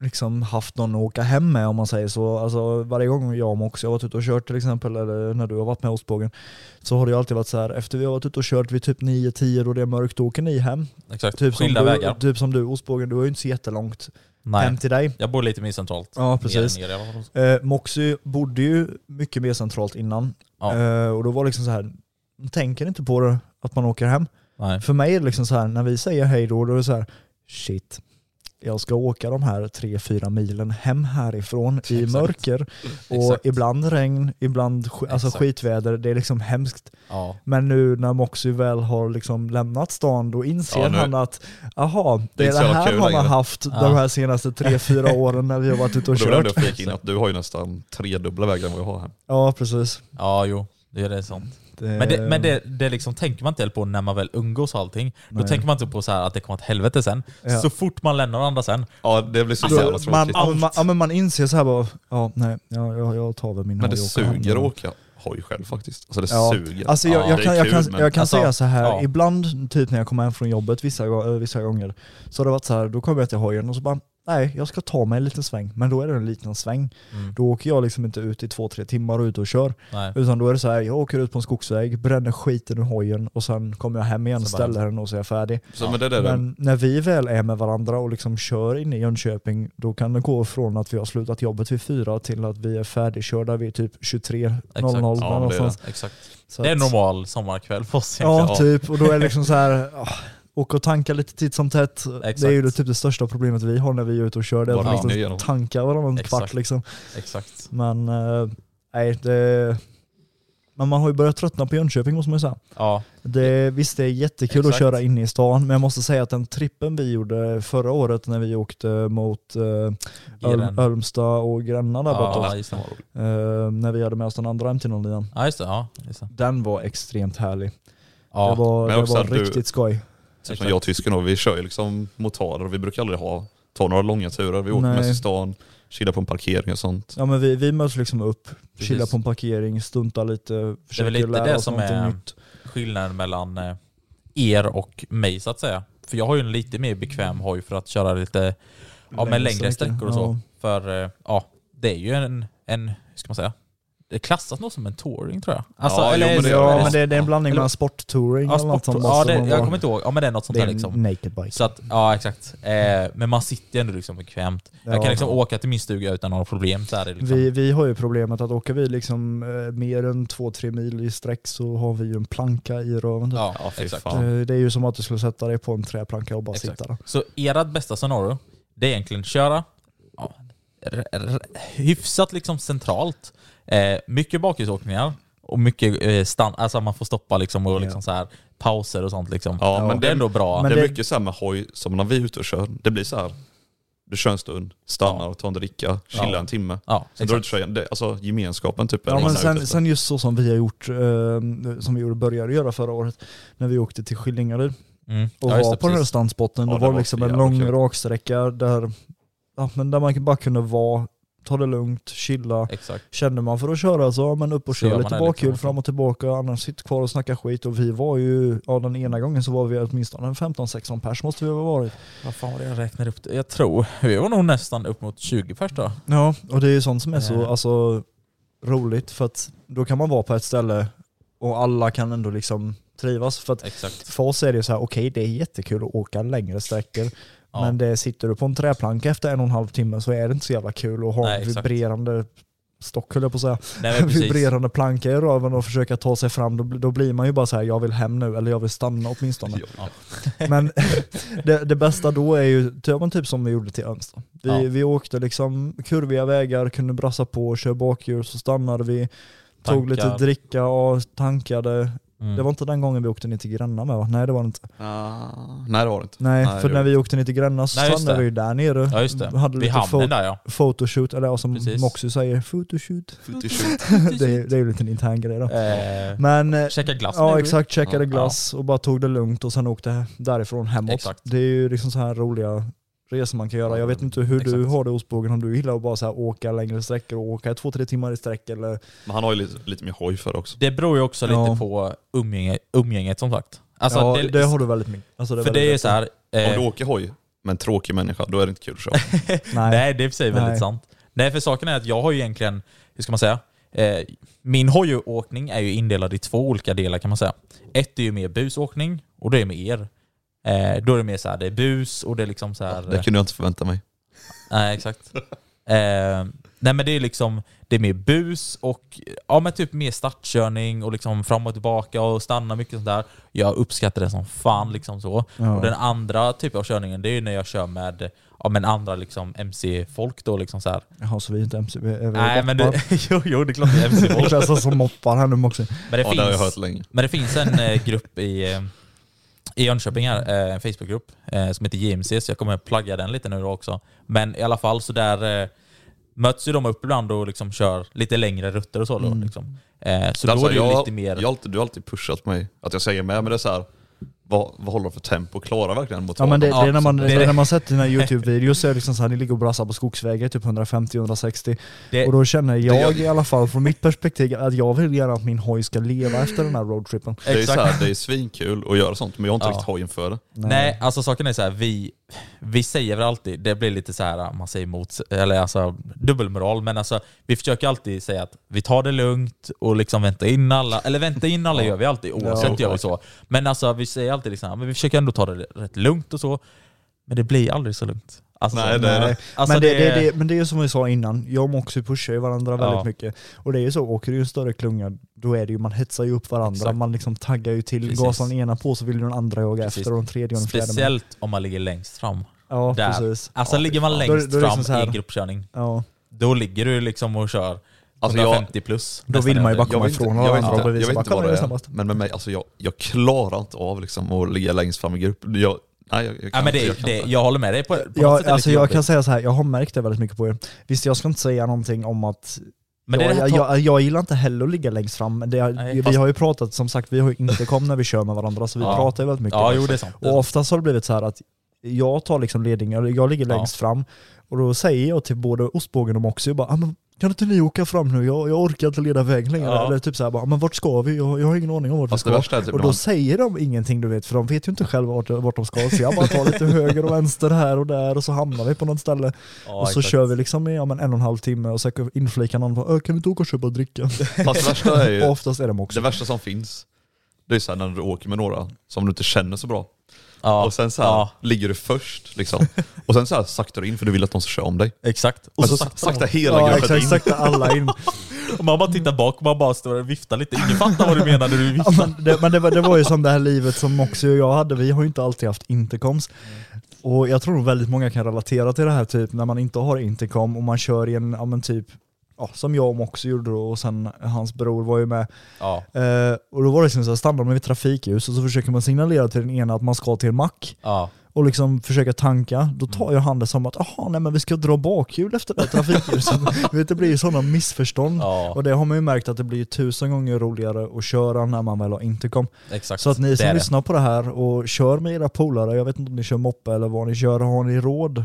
C: liksom haft någon att åka hem med om man säger så. Alltså, varje gång jag och Mox har varit ute och kört till exempel, eller när du har varit med Ostbågen, så har det ju alltid varit så här. efter vi har varit ute och kört vid typ 9-10 då det är mörkt, då åker ni hem.
B: Exakt,
C: Typ
B: skilda
C: som
B: vägar.
C: Du, typ som du Ostbågen, du har ju inte så jättelångt
B: Nej,
C: hem till dig.
B: jag bor lite mer centralt.
C: Ja, precis.
B: Mer, ner i alla fall.
C: Eh, Moxie bodde ju mycket mer centralt innan.
B: Ja.
C: Eh, och då var det liksom så här, man tänker inte på det, att man åker hem.
B: Nej.
C: För mig är det liksom så här, när vi säger hej då, då är det så här, shit, jag ska åka de här 3-4 milen hem härifrån i
B: Exakt.
C: mörker. Och
B: Exakt.
C: ibland regn, ibland sk- alltså
B: Exakt.
C: skitväder. Det är liksom hemskt.
B: Ja.
C: Men nu när Moxie väl har liksom lämnat stan då inser
D: Ja, nu-
C: han att aha, det, är
D: inte
C: det
D: så jävla
C: här
D: kul
C: han har
D: längre.
C: haft
B: Ja.
C: de här senaste 3-4 åren när vi har varit ute
D: Och
C: och
D: då vill jag ändå
C: kört.
D: flika in att du har ju nästan tredubbla vägar än vad jag har här.
C: Ja, precis.
B: Ja, jo. Det är det sånt.
C: Det-
B: Men, det, men det, det liksom tänker man inte helt på när man väl umgås och allting. Då
C: Nej.
B: tänker man inte på så här att det kommer åt helvete sen.
C: Ja.
B: Så fort man lämnar varandra sen.
D: Ja det blir så
C: Då-
D: jävla
C: man,
D: tråkigt.
C: ja, men man, ja, men man inser så här bara, ja nej, ja, jag, jag tar väl min
D: men det
C: hoj och åker hem.
D: suger att åka hoj själv faktiskt. Alltså det
C: Ja.
D: suger.
C: Alltså jag,
D: Ja,
C: jag,
D: det är
C: kan, jag,
D: kul,
C: kan,
D: men-
C: jag kan
B: Alltså,
C: säga så här,
B: ja.
C: ibland typ när jag kommer hem från jobbet vissa, go- eh, vissa gånger, så har det varit så här, då kommer jag till hojen och så bara, nej jag ska ta mig en liten sväng, men då är det en liten sväng.
D: Mm.
C: Då åker jag liksom inte ut i två, tre timmar och ut och kör.
B: Nej.
C: Utan då är det så här, jag åker ut på en skogsväg, bränner skiten ur hojen och sen kommer jag hem igen,
B: Så bara-
C: ställer den och så är jag färdig.
D: Så, men det där,
C: Men när vi väl är med varandra och liksom kör in i Jönköping, då kan det gå från att vi har slutat jobbet vid fyra till att vi är färdigkörda vid typ 23.00
B: Exakt. Ja, men det är
D: det.
C: någonstans.
B: Exakt.
C: Så
B: Det är en
C: att-
B: normal sommarkväll för oss
C: Ja,
B: egentligen.
C: typ. Och då är det liksom så här, ah, åka och tanka lite titt som tätt.
B: Exakt.
C: Det är ju det, typ det största problemet vi har när vi är ute och kör. Det är
D: Bara
C: att vi
D: rinner
C: måste
D: igenom.
C: tanka varannan
B: Exakt.
C: kvart liksom.
B: Exakt.
C: Men eh, nej, det... Men man har ju börjat tröttna på Jönköping måste man ju säga.
B: Ja.
C: Det, visst, det är jättekul
B: Exakt.
C: att köra inne i stan, men jag måste säga att den trippen vi gjorde förra året när vi åkte mot eh, Öl,
B: Giren.
C: Ölmstad och Gränna där borta,
B: Ja, just det.
C: eh, när vi hade med oss den andra M1009,
B: Ja, just det. Ja, just det.
C: den var extremt härlig.
B: Ja.
C: det var,
D: men
C: det
D: också
C: var
D: att du-
C: riktigt skoj.
D: typ som jag och tysken då, vi kör ju liksom motarer och vi brukar aldrig ha, ta några långa turer. Vi åker
C: Nej.
D: mest i stan, chillar på en parkering och sånt.
C: Ja men vi, vi möts liksom upp,
B: Precis.
C: chillar på en parkering, stuntar lite, försöker
B: lite
C: lära
B: det
C: oss
B: som
C: någonting
B: är-
C: nytt.
B: skillnaden mellan eh, er och mig så att säga. För jag har ju en lite mer bekväm hoj för att köra lite ja,
C: Längre
B: med längre
C: sträckor,
B: sträckor och så.
C: ja.
B: För eh, ja, det är ju en, en, hur ska man säga? Det klassas nog som en touring tror jag. Alltså,
D: Ja, jo, men det-
C: Ja
D: det-
C: men det, det är en blandning
B: Eller-
C: mellan sporttouring
B: ja,
C: eller något
B: sport,
C: sånt.
B: ja,
C: måste
B: det,
C: man
B: jag
C: vara.
B: kommer inte ihåg. Ja men det är något sånt
C: Det är
B: där
C: en
B: liksom.
C: naked bike.
B: Så att, ja exakt. Eh, men man sitter ju ändå liksom bekvämt.
C: Ja.
B: Jag kan liksom åka till min stuga utan några problem. Så här, är det liksom.
C: Vi, vi har ju problemet att åker vi liksom eh, mer än 2-3 mil i sträck så har vi ju en planka i röven. typ.
B: ja,
D: Ja, fy
B: exakt.
D: fan.
C: Eh, Det är ju som att du skulle sätta dig på en träplanka och bara
B: Exakt.
C: sitta där.
B: Så ert bästa scenario, det är egentligen köra ja, r- r- hyfsat liksom centralt. Eh, mycket bakhjulsåkningar och mycket eh, stann, alltså man får stoppa liksom och liksom så här pauser och sånt liksom.
D: Ja, men
B: det är ändå bra.
C: men
D: det är
C: det-
D: mycket så här med hoj som när vi är ute och kör. Det blir så här. Du kör en stund, stannar, tar en dricka, chillar en timme.
B: Ja,
D: sen drar du till tröjan. Det, alltså gemenskapen typ. är
C: Ja, men
D: det man är ute
C: sen,
D: efter.
C: sen just så som vi har gjort, eh, som vi gjorde- började göra förra året, när vi åkte till Skillingaryd
B: Mm.
C: och
B: Ja, just
C: var
B: det,
C: på den här
B: precis.
C: stansbotten.
D: Ja,
C: det
D: det
C: var
D: var
C: liksom
D: så
C: en
D: jävla
C: lång
D: kul.
C: raksträcka där, ja, men där man bara kunde vara, ta det lugnt, chilla.
B: Exakt.
C: Kände man för att köra så, ja, men upp och
B: Så gör
C: kör
B: man det,
C: lite
B: liksom.
C: bakhjul fram och tillbaka, annars sitt kvar och snacka skit. Och vi var ju, ja den ena gången så var vi åtminstone en 15-16 pers måste vi ha varit.
B: Vad fan var det jag räknade upp? det? Jag tror, vi var nog nästan upp mot 20 pers då.
C: Ja, och det är ju sånt som är så
B: Eh.
C: alltså, roligt för att då kan man vara på ett ställe och alla kan ändå liksom trivas. För att
B: Exakt.
C: för oss är det ju så här, okej det är jättekul att åka längre sträckor,
B: Ja.
C: men det sitter du på en träplanka efter en och en halv timme så är det inte så jävla kul att ha
B: Nej,
C: en
B: exakt.
C: vibrerande stock höll jag på att säga,
B: Nej, men precis.
C: vibrerande planka i röven och försöka ta sig fram, då, bli- då blir man ju bara så här, jag vill hem nu, eller jag vill stanna åtminstone.
B: Ja.
C: Men det, det bästa då är ju ty- ja, men typ som vi gjorde till Ömsta. Vi,
B: Ja.
C: vi åkte liksom kurviga vägar, kunde brassa på, köra bakhjul, så stannade vi, tog lite
B: Tankar.
C: dricka och tankade.
B: Mm.
C: Det var inte den gången vi åkte ner till Gränna med va? Nej det var det inte.
D: Ah, nej det har du inte.
C: Nej,
D: Nej,
C: för
D: det
C: när
D: var-
C: vi åkte ner till Gränna så
B: Nej, just
C: stannade
B: det.
C: vi ju där nere.
B: Ja just det,
C: Hade
B: vid
C: lite
B: hamnen
C: fo-
B: där ja.
C: photoshoot, eller ja, som
B: Precis.
C: Moxie säger, photoshoot.
D: Footy-shoot.
C: det, är- det är ju lite en intern grej då.
B: Eh,
C: Men eh,
B: käka glass med
C: Ja
B: dig.
C: exakt, checkade
D: Ja.
C: glass och bara tog det lugnt och sen åkte därifrån hemåt.
B: Exakt.
C: Det är ju liksom så här roliga resor man kan göra. Jag vet inte hur du
B: Exakt.
C: har det Ostbågen, om du gillar att bara så här åka längre sträckor och åka två, tre timmar i sträck eller...
D: Men han har ju lite, lite mer hoj för det också.
B: Det beror ju också
C: Ja.
B: lite på umgänge, umgänget som sagt. Alltså,
C: ja, det,
B: det-
C: har du väldigt mycket. Alltså,
B: för det är ju så här, eh,
D: Om du åker hoj med en tråkig människa, då är det inte kul att köra.
C: Nej.
B: Nej, det är i och för sig väldigt
C: Nej.
B: sant. Nej, för saken är att jag har ju egentligen, hur ska man säga? Eh, min hojåkning är ju indelad i två olika delar kan man säga. Ett är ju mer busåkning och det är med er. Eh, då är det mer så här, det är bus och det är liksom så här...
D: Det kunde jag inte förvänta mig.
B: Nej, exakt. Eh, nej men det är liksom, det är mer bus och ja men typ mer startkörning och liksom fram och tillbaka och stanna mycket sånt där. Jag uppskattar det som fan liksom så. Och den andra typen av körningen det är ju när jag kör med ja, men andra liksom MC-folk då liksom så här.
C: Jaha, så vi är inte MC, vi är
B: Nej men du, jo, jo det är klart det är
C: Vi
B: MC-folk.
C: klassas som moppar här nu också.
B: Men det,
D: Ja, det har jag hört
B: finns,
D: länge.
B: men det finns en eh, grupp i, eh, i Jönköping här, eh, en Facebookgrupp eh, som heter JMC, så jag kommer att plugga den lite nu då också. Men i alla fall så där eh, möts ju de upp ibland och liksom kör lite längre rutter och så. Då, liksom. eh, så då
D: Mm. Alltså,
B: är det ju
D: jag-
B: lite mer...
D: Jag har alltid, du har alltid pushat mig att jag säger med, men det är så här, vad, vad håller de för tempo? Klarar verkligen mot
C: Ja men det, det, är när man,
B: Ja,
C: det är
B: det-
C: när man sett dina YouTube-videos så är det liksom såhär, ni ligger och brassar på skogsvägar typ 150-160
B: Det-
C: Och då känner jag
D: gör-
C: i alla fall från mitt perspektiv att jag vill gärna att min hoj ska leva efter den här roadtrippen
D: det är, så
B: Exakt.
D: här, det är svinkul att göra sånt, men jag har inte
B: Ja.
D: riktigt hojen för det.
B: Nej. alltså saken är så här, vi, vi säger väl alltid, det blir lite så här, man säger mot, eller alltså dubbelmoral, men alltså vi försöker alltid säga att vi tar det lugnt och liksom väntar in alla, eller vänta in alla gör vi alltid, oavsett gör vi så. Men alltså vi säger alltid liksom, ja, men vi försöker ändå ta det rätt lugnt och så, men det blir aldrig så lugnt. Alltså,
D: Nej, det är det.
B: Alltså,
C: eh, men, det,
B: det-
C: det, det, men det är ju som vi sa innan, jag och Moxie pushar ju varandra
B: Ja.
C: väldigt mycket. Och det är ju så, åker du i en större klunga, då är det ju, man hetsar ju upp varandra,
B: Exakt.
C: man liksom taggar ju till,
B: Precis.
C: gasar den ena på så vill ju den andra jaga
B: Precis.
C: efter och den tredje och den fjärde. men-
B: Speciellt om man ligger längst fram.
C: ja,
B: där.
C: precis.
B: Alltså
C: ja,
B: ligger man
C: fan.
B: längst
C: Då är det- då är det liksom så
B: fram
C: här-
B: i gruppkörning,
C: Ja.
B: då ligger du liksom och kör
D: Alltså, jag-
B: 150 plus.
C: Då
B: nästan
C: vill man ju
B: hela
C: bara
B: tiden.
C: komma
D: vet inte-
C: ifrån
D: jag vet
C: varandra
D: inte,
C: och
D: jag vet
C: bevisa bara
D: inte vad
C: kolla
D: det
C: jag är
D: är,
C: snabbast.
D: men med mig, alltså jag, jag klarar inte av liksom att ligga längst fram i grupp. Jag, nej, jag, jag kan
B: Ja, men
D: inte,
B: det,
D: jag kan
B: det,
D: inte.
B: jag håller med dig på, på något sätt är
C: Jag,
B: det
C: alltså
B: lite
C: jag
B: jobbigt.
C: kan säga så här, jag har märkt det väldigt mycket på er. Visst jag ska inte säga någonting om att
B: Men det är
C: jag,
B: det här
C: jag,
B: ta-
C: jag, jag gillar inte heller att ligga längst fram, men det,
B: Nej,
C: vi
B: fast-
C: har ju pratat, som sagt vi har ju inte kommit när vi kör med varandra så vi
B: Ja.
C: pratar ju väldigt mycket.
B: Ja, jo det är sant.
C: Och oftast har det blivit så här att jag tar liksom ledningen, eller jag ligger
B: Ja.
C: längst fram, och då säger jag till både ostbågen och Moxie bara ah, men kan inte ni åka fram nu? Jag, jag orkar inte leda vägen längre.
B: Ja.
C: Eller typ såhär bara, "Ah, men vart ska vi? Jag, jag har ingen aning om vart vi
D: Fast det
C: ska.
D: värsta är typ
C: och
D: när
C: då
D: man-
C: säger de ingenting du vet, för de vet ju inte själva vart, vart de ska. Så jag bara tar lite höger och vänster här och där och så hamnar vi på något ställe.
B: Ja,
C: och så
B: exakt.
C: kör vi liksom i ja, men en och en halv timme och så inflikar någon bara, "Äh, kan vi inte åka och köpa och dricka?
D: Fast det värsta är ju,
C: Och oftast är de också.
D: det värsta som finns, det är så här när du åker med några som du inte känner så bra.
B: Ja,
D: Och sen så här,
B: ja,
D: ligger du först liksom. Och sen så här saktar du in för du vill att de ska köra om dig.
B: exakt. Alltså, Och
D: Men
B: så
D: så
B: sakta
D: saktar hela
C: Ja
D: gruppen
C: exakt,
D: in.
C: sakta alla in.
B: och man bara tittar bak och man bara står och viftar lite. Ingen fattar vad du menar när du
C: Ja,
B: viftar.
C: men det, men det, var, det var ju som det här livet som Moxie och jag hade, vi har ju inte alltid haft intercoms. Och jag tror nog väldigt många kan relatera till det här, typ när man inte har intercom och man kör i en, ja men typ, ja, som jag och Moxie gjorde då och sen hans bror var ju med.
B: Ja,
C: Eh, och då var det liksom så här, stannar man vid trafikljus och så försöker man signalera till den ena att man ska till en mack
B: ja.
C: och liksom försöka tanka, då
B: Mm.
C: tar ju han det som att aha, nej men vi ska dra bakhjul efter det här trafikljuset. Du vet, det blir ju sådana missförstånd.
B: Ja.
C: Och det har man ju märkt att det blir ju tusen gånger roligare att köra när man väl har intercom.
B: Exakt.
C: Så att
B: Det
C: ni
B: är
C: som
B: det.
C: lyssnar på det här och kör med era polare, jag vet inte om ni kör moppe eller vad ni kör, har ni råd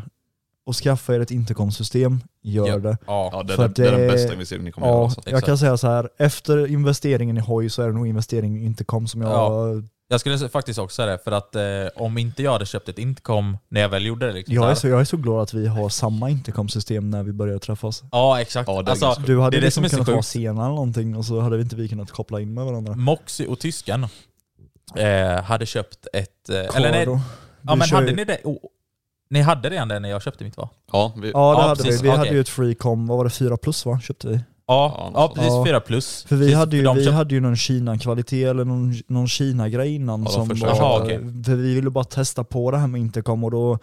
C: att skaffa er ett intercomsystem, gör
D: Ja.
C: det.
B: Ja,
D: Ja, det, är
C: För
D: den-
C: att
D: det är den
C: det-
D: bästa investeringen ni kommer göra.
C: Ja,
D: Alltså.
C: jag kan säga så här. efter investeringen i hoj så är det nog investering i intercom som jag...
B: Ja. jag skulle faktiskt också säga det, för att eh, om inte jag hade köpt ett Intercom när jag väl gjorde det. Liksom,
C: Jag, är
B: där.
C: så, jag är så glad att vi har samma intercomsystem när vi börjar träffas.
B: Ja, exakt.
D: Ja, det är
B: alltså,
D: ganska
C: Du hade
B: det är det som
C: liksom
B: är så
C: kunnat vara
B: sjukt.
C: sena eller någonting och så hade vi inte vi kunnat koppla in med varandra.
B: Moxie och tysken eh, hade köpt ett... Eh, eller nej,
C: Cardo.
B: ja,
C: Du
B: men
C: kör
B: hade
C: ju-
B: ni det? Oh, ni hade redan det när jag köpte mitt va?
D: Ja, vi,
C: Ja det
B: Ja,
C: hade
B: precis.
C: vi. Vi hade
B: Okej.
C: ju ett freecom, vad var det, 4 plus va? Köpte vi?
B: Ja,
D: Ja, alltså.
B: ja precis.
C: Ja.
B: 4 plus.
C: För vi,
B: Precis,
C: hade, ju,
B: de
C: vi
B: köpte-
C: hade ju någon Kina-kvalitet eller någon, någon Kina-grej innan
D: Ja, de
C: som
D: första-
C: var,
B: Jaha, okej.
C: För vi ville bara testa på det här med intercom och då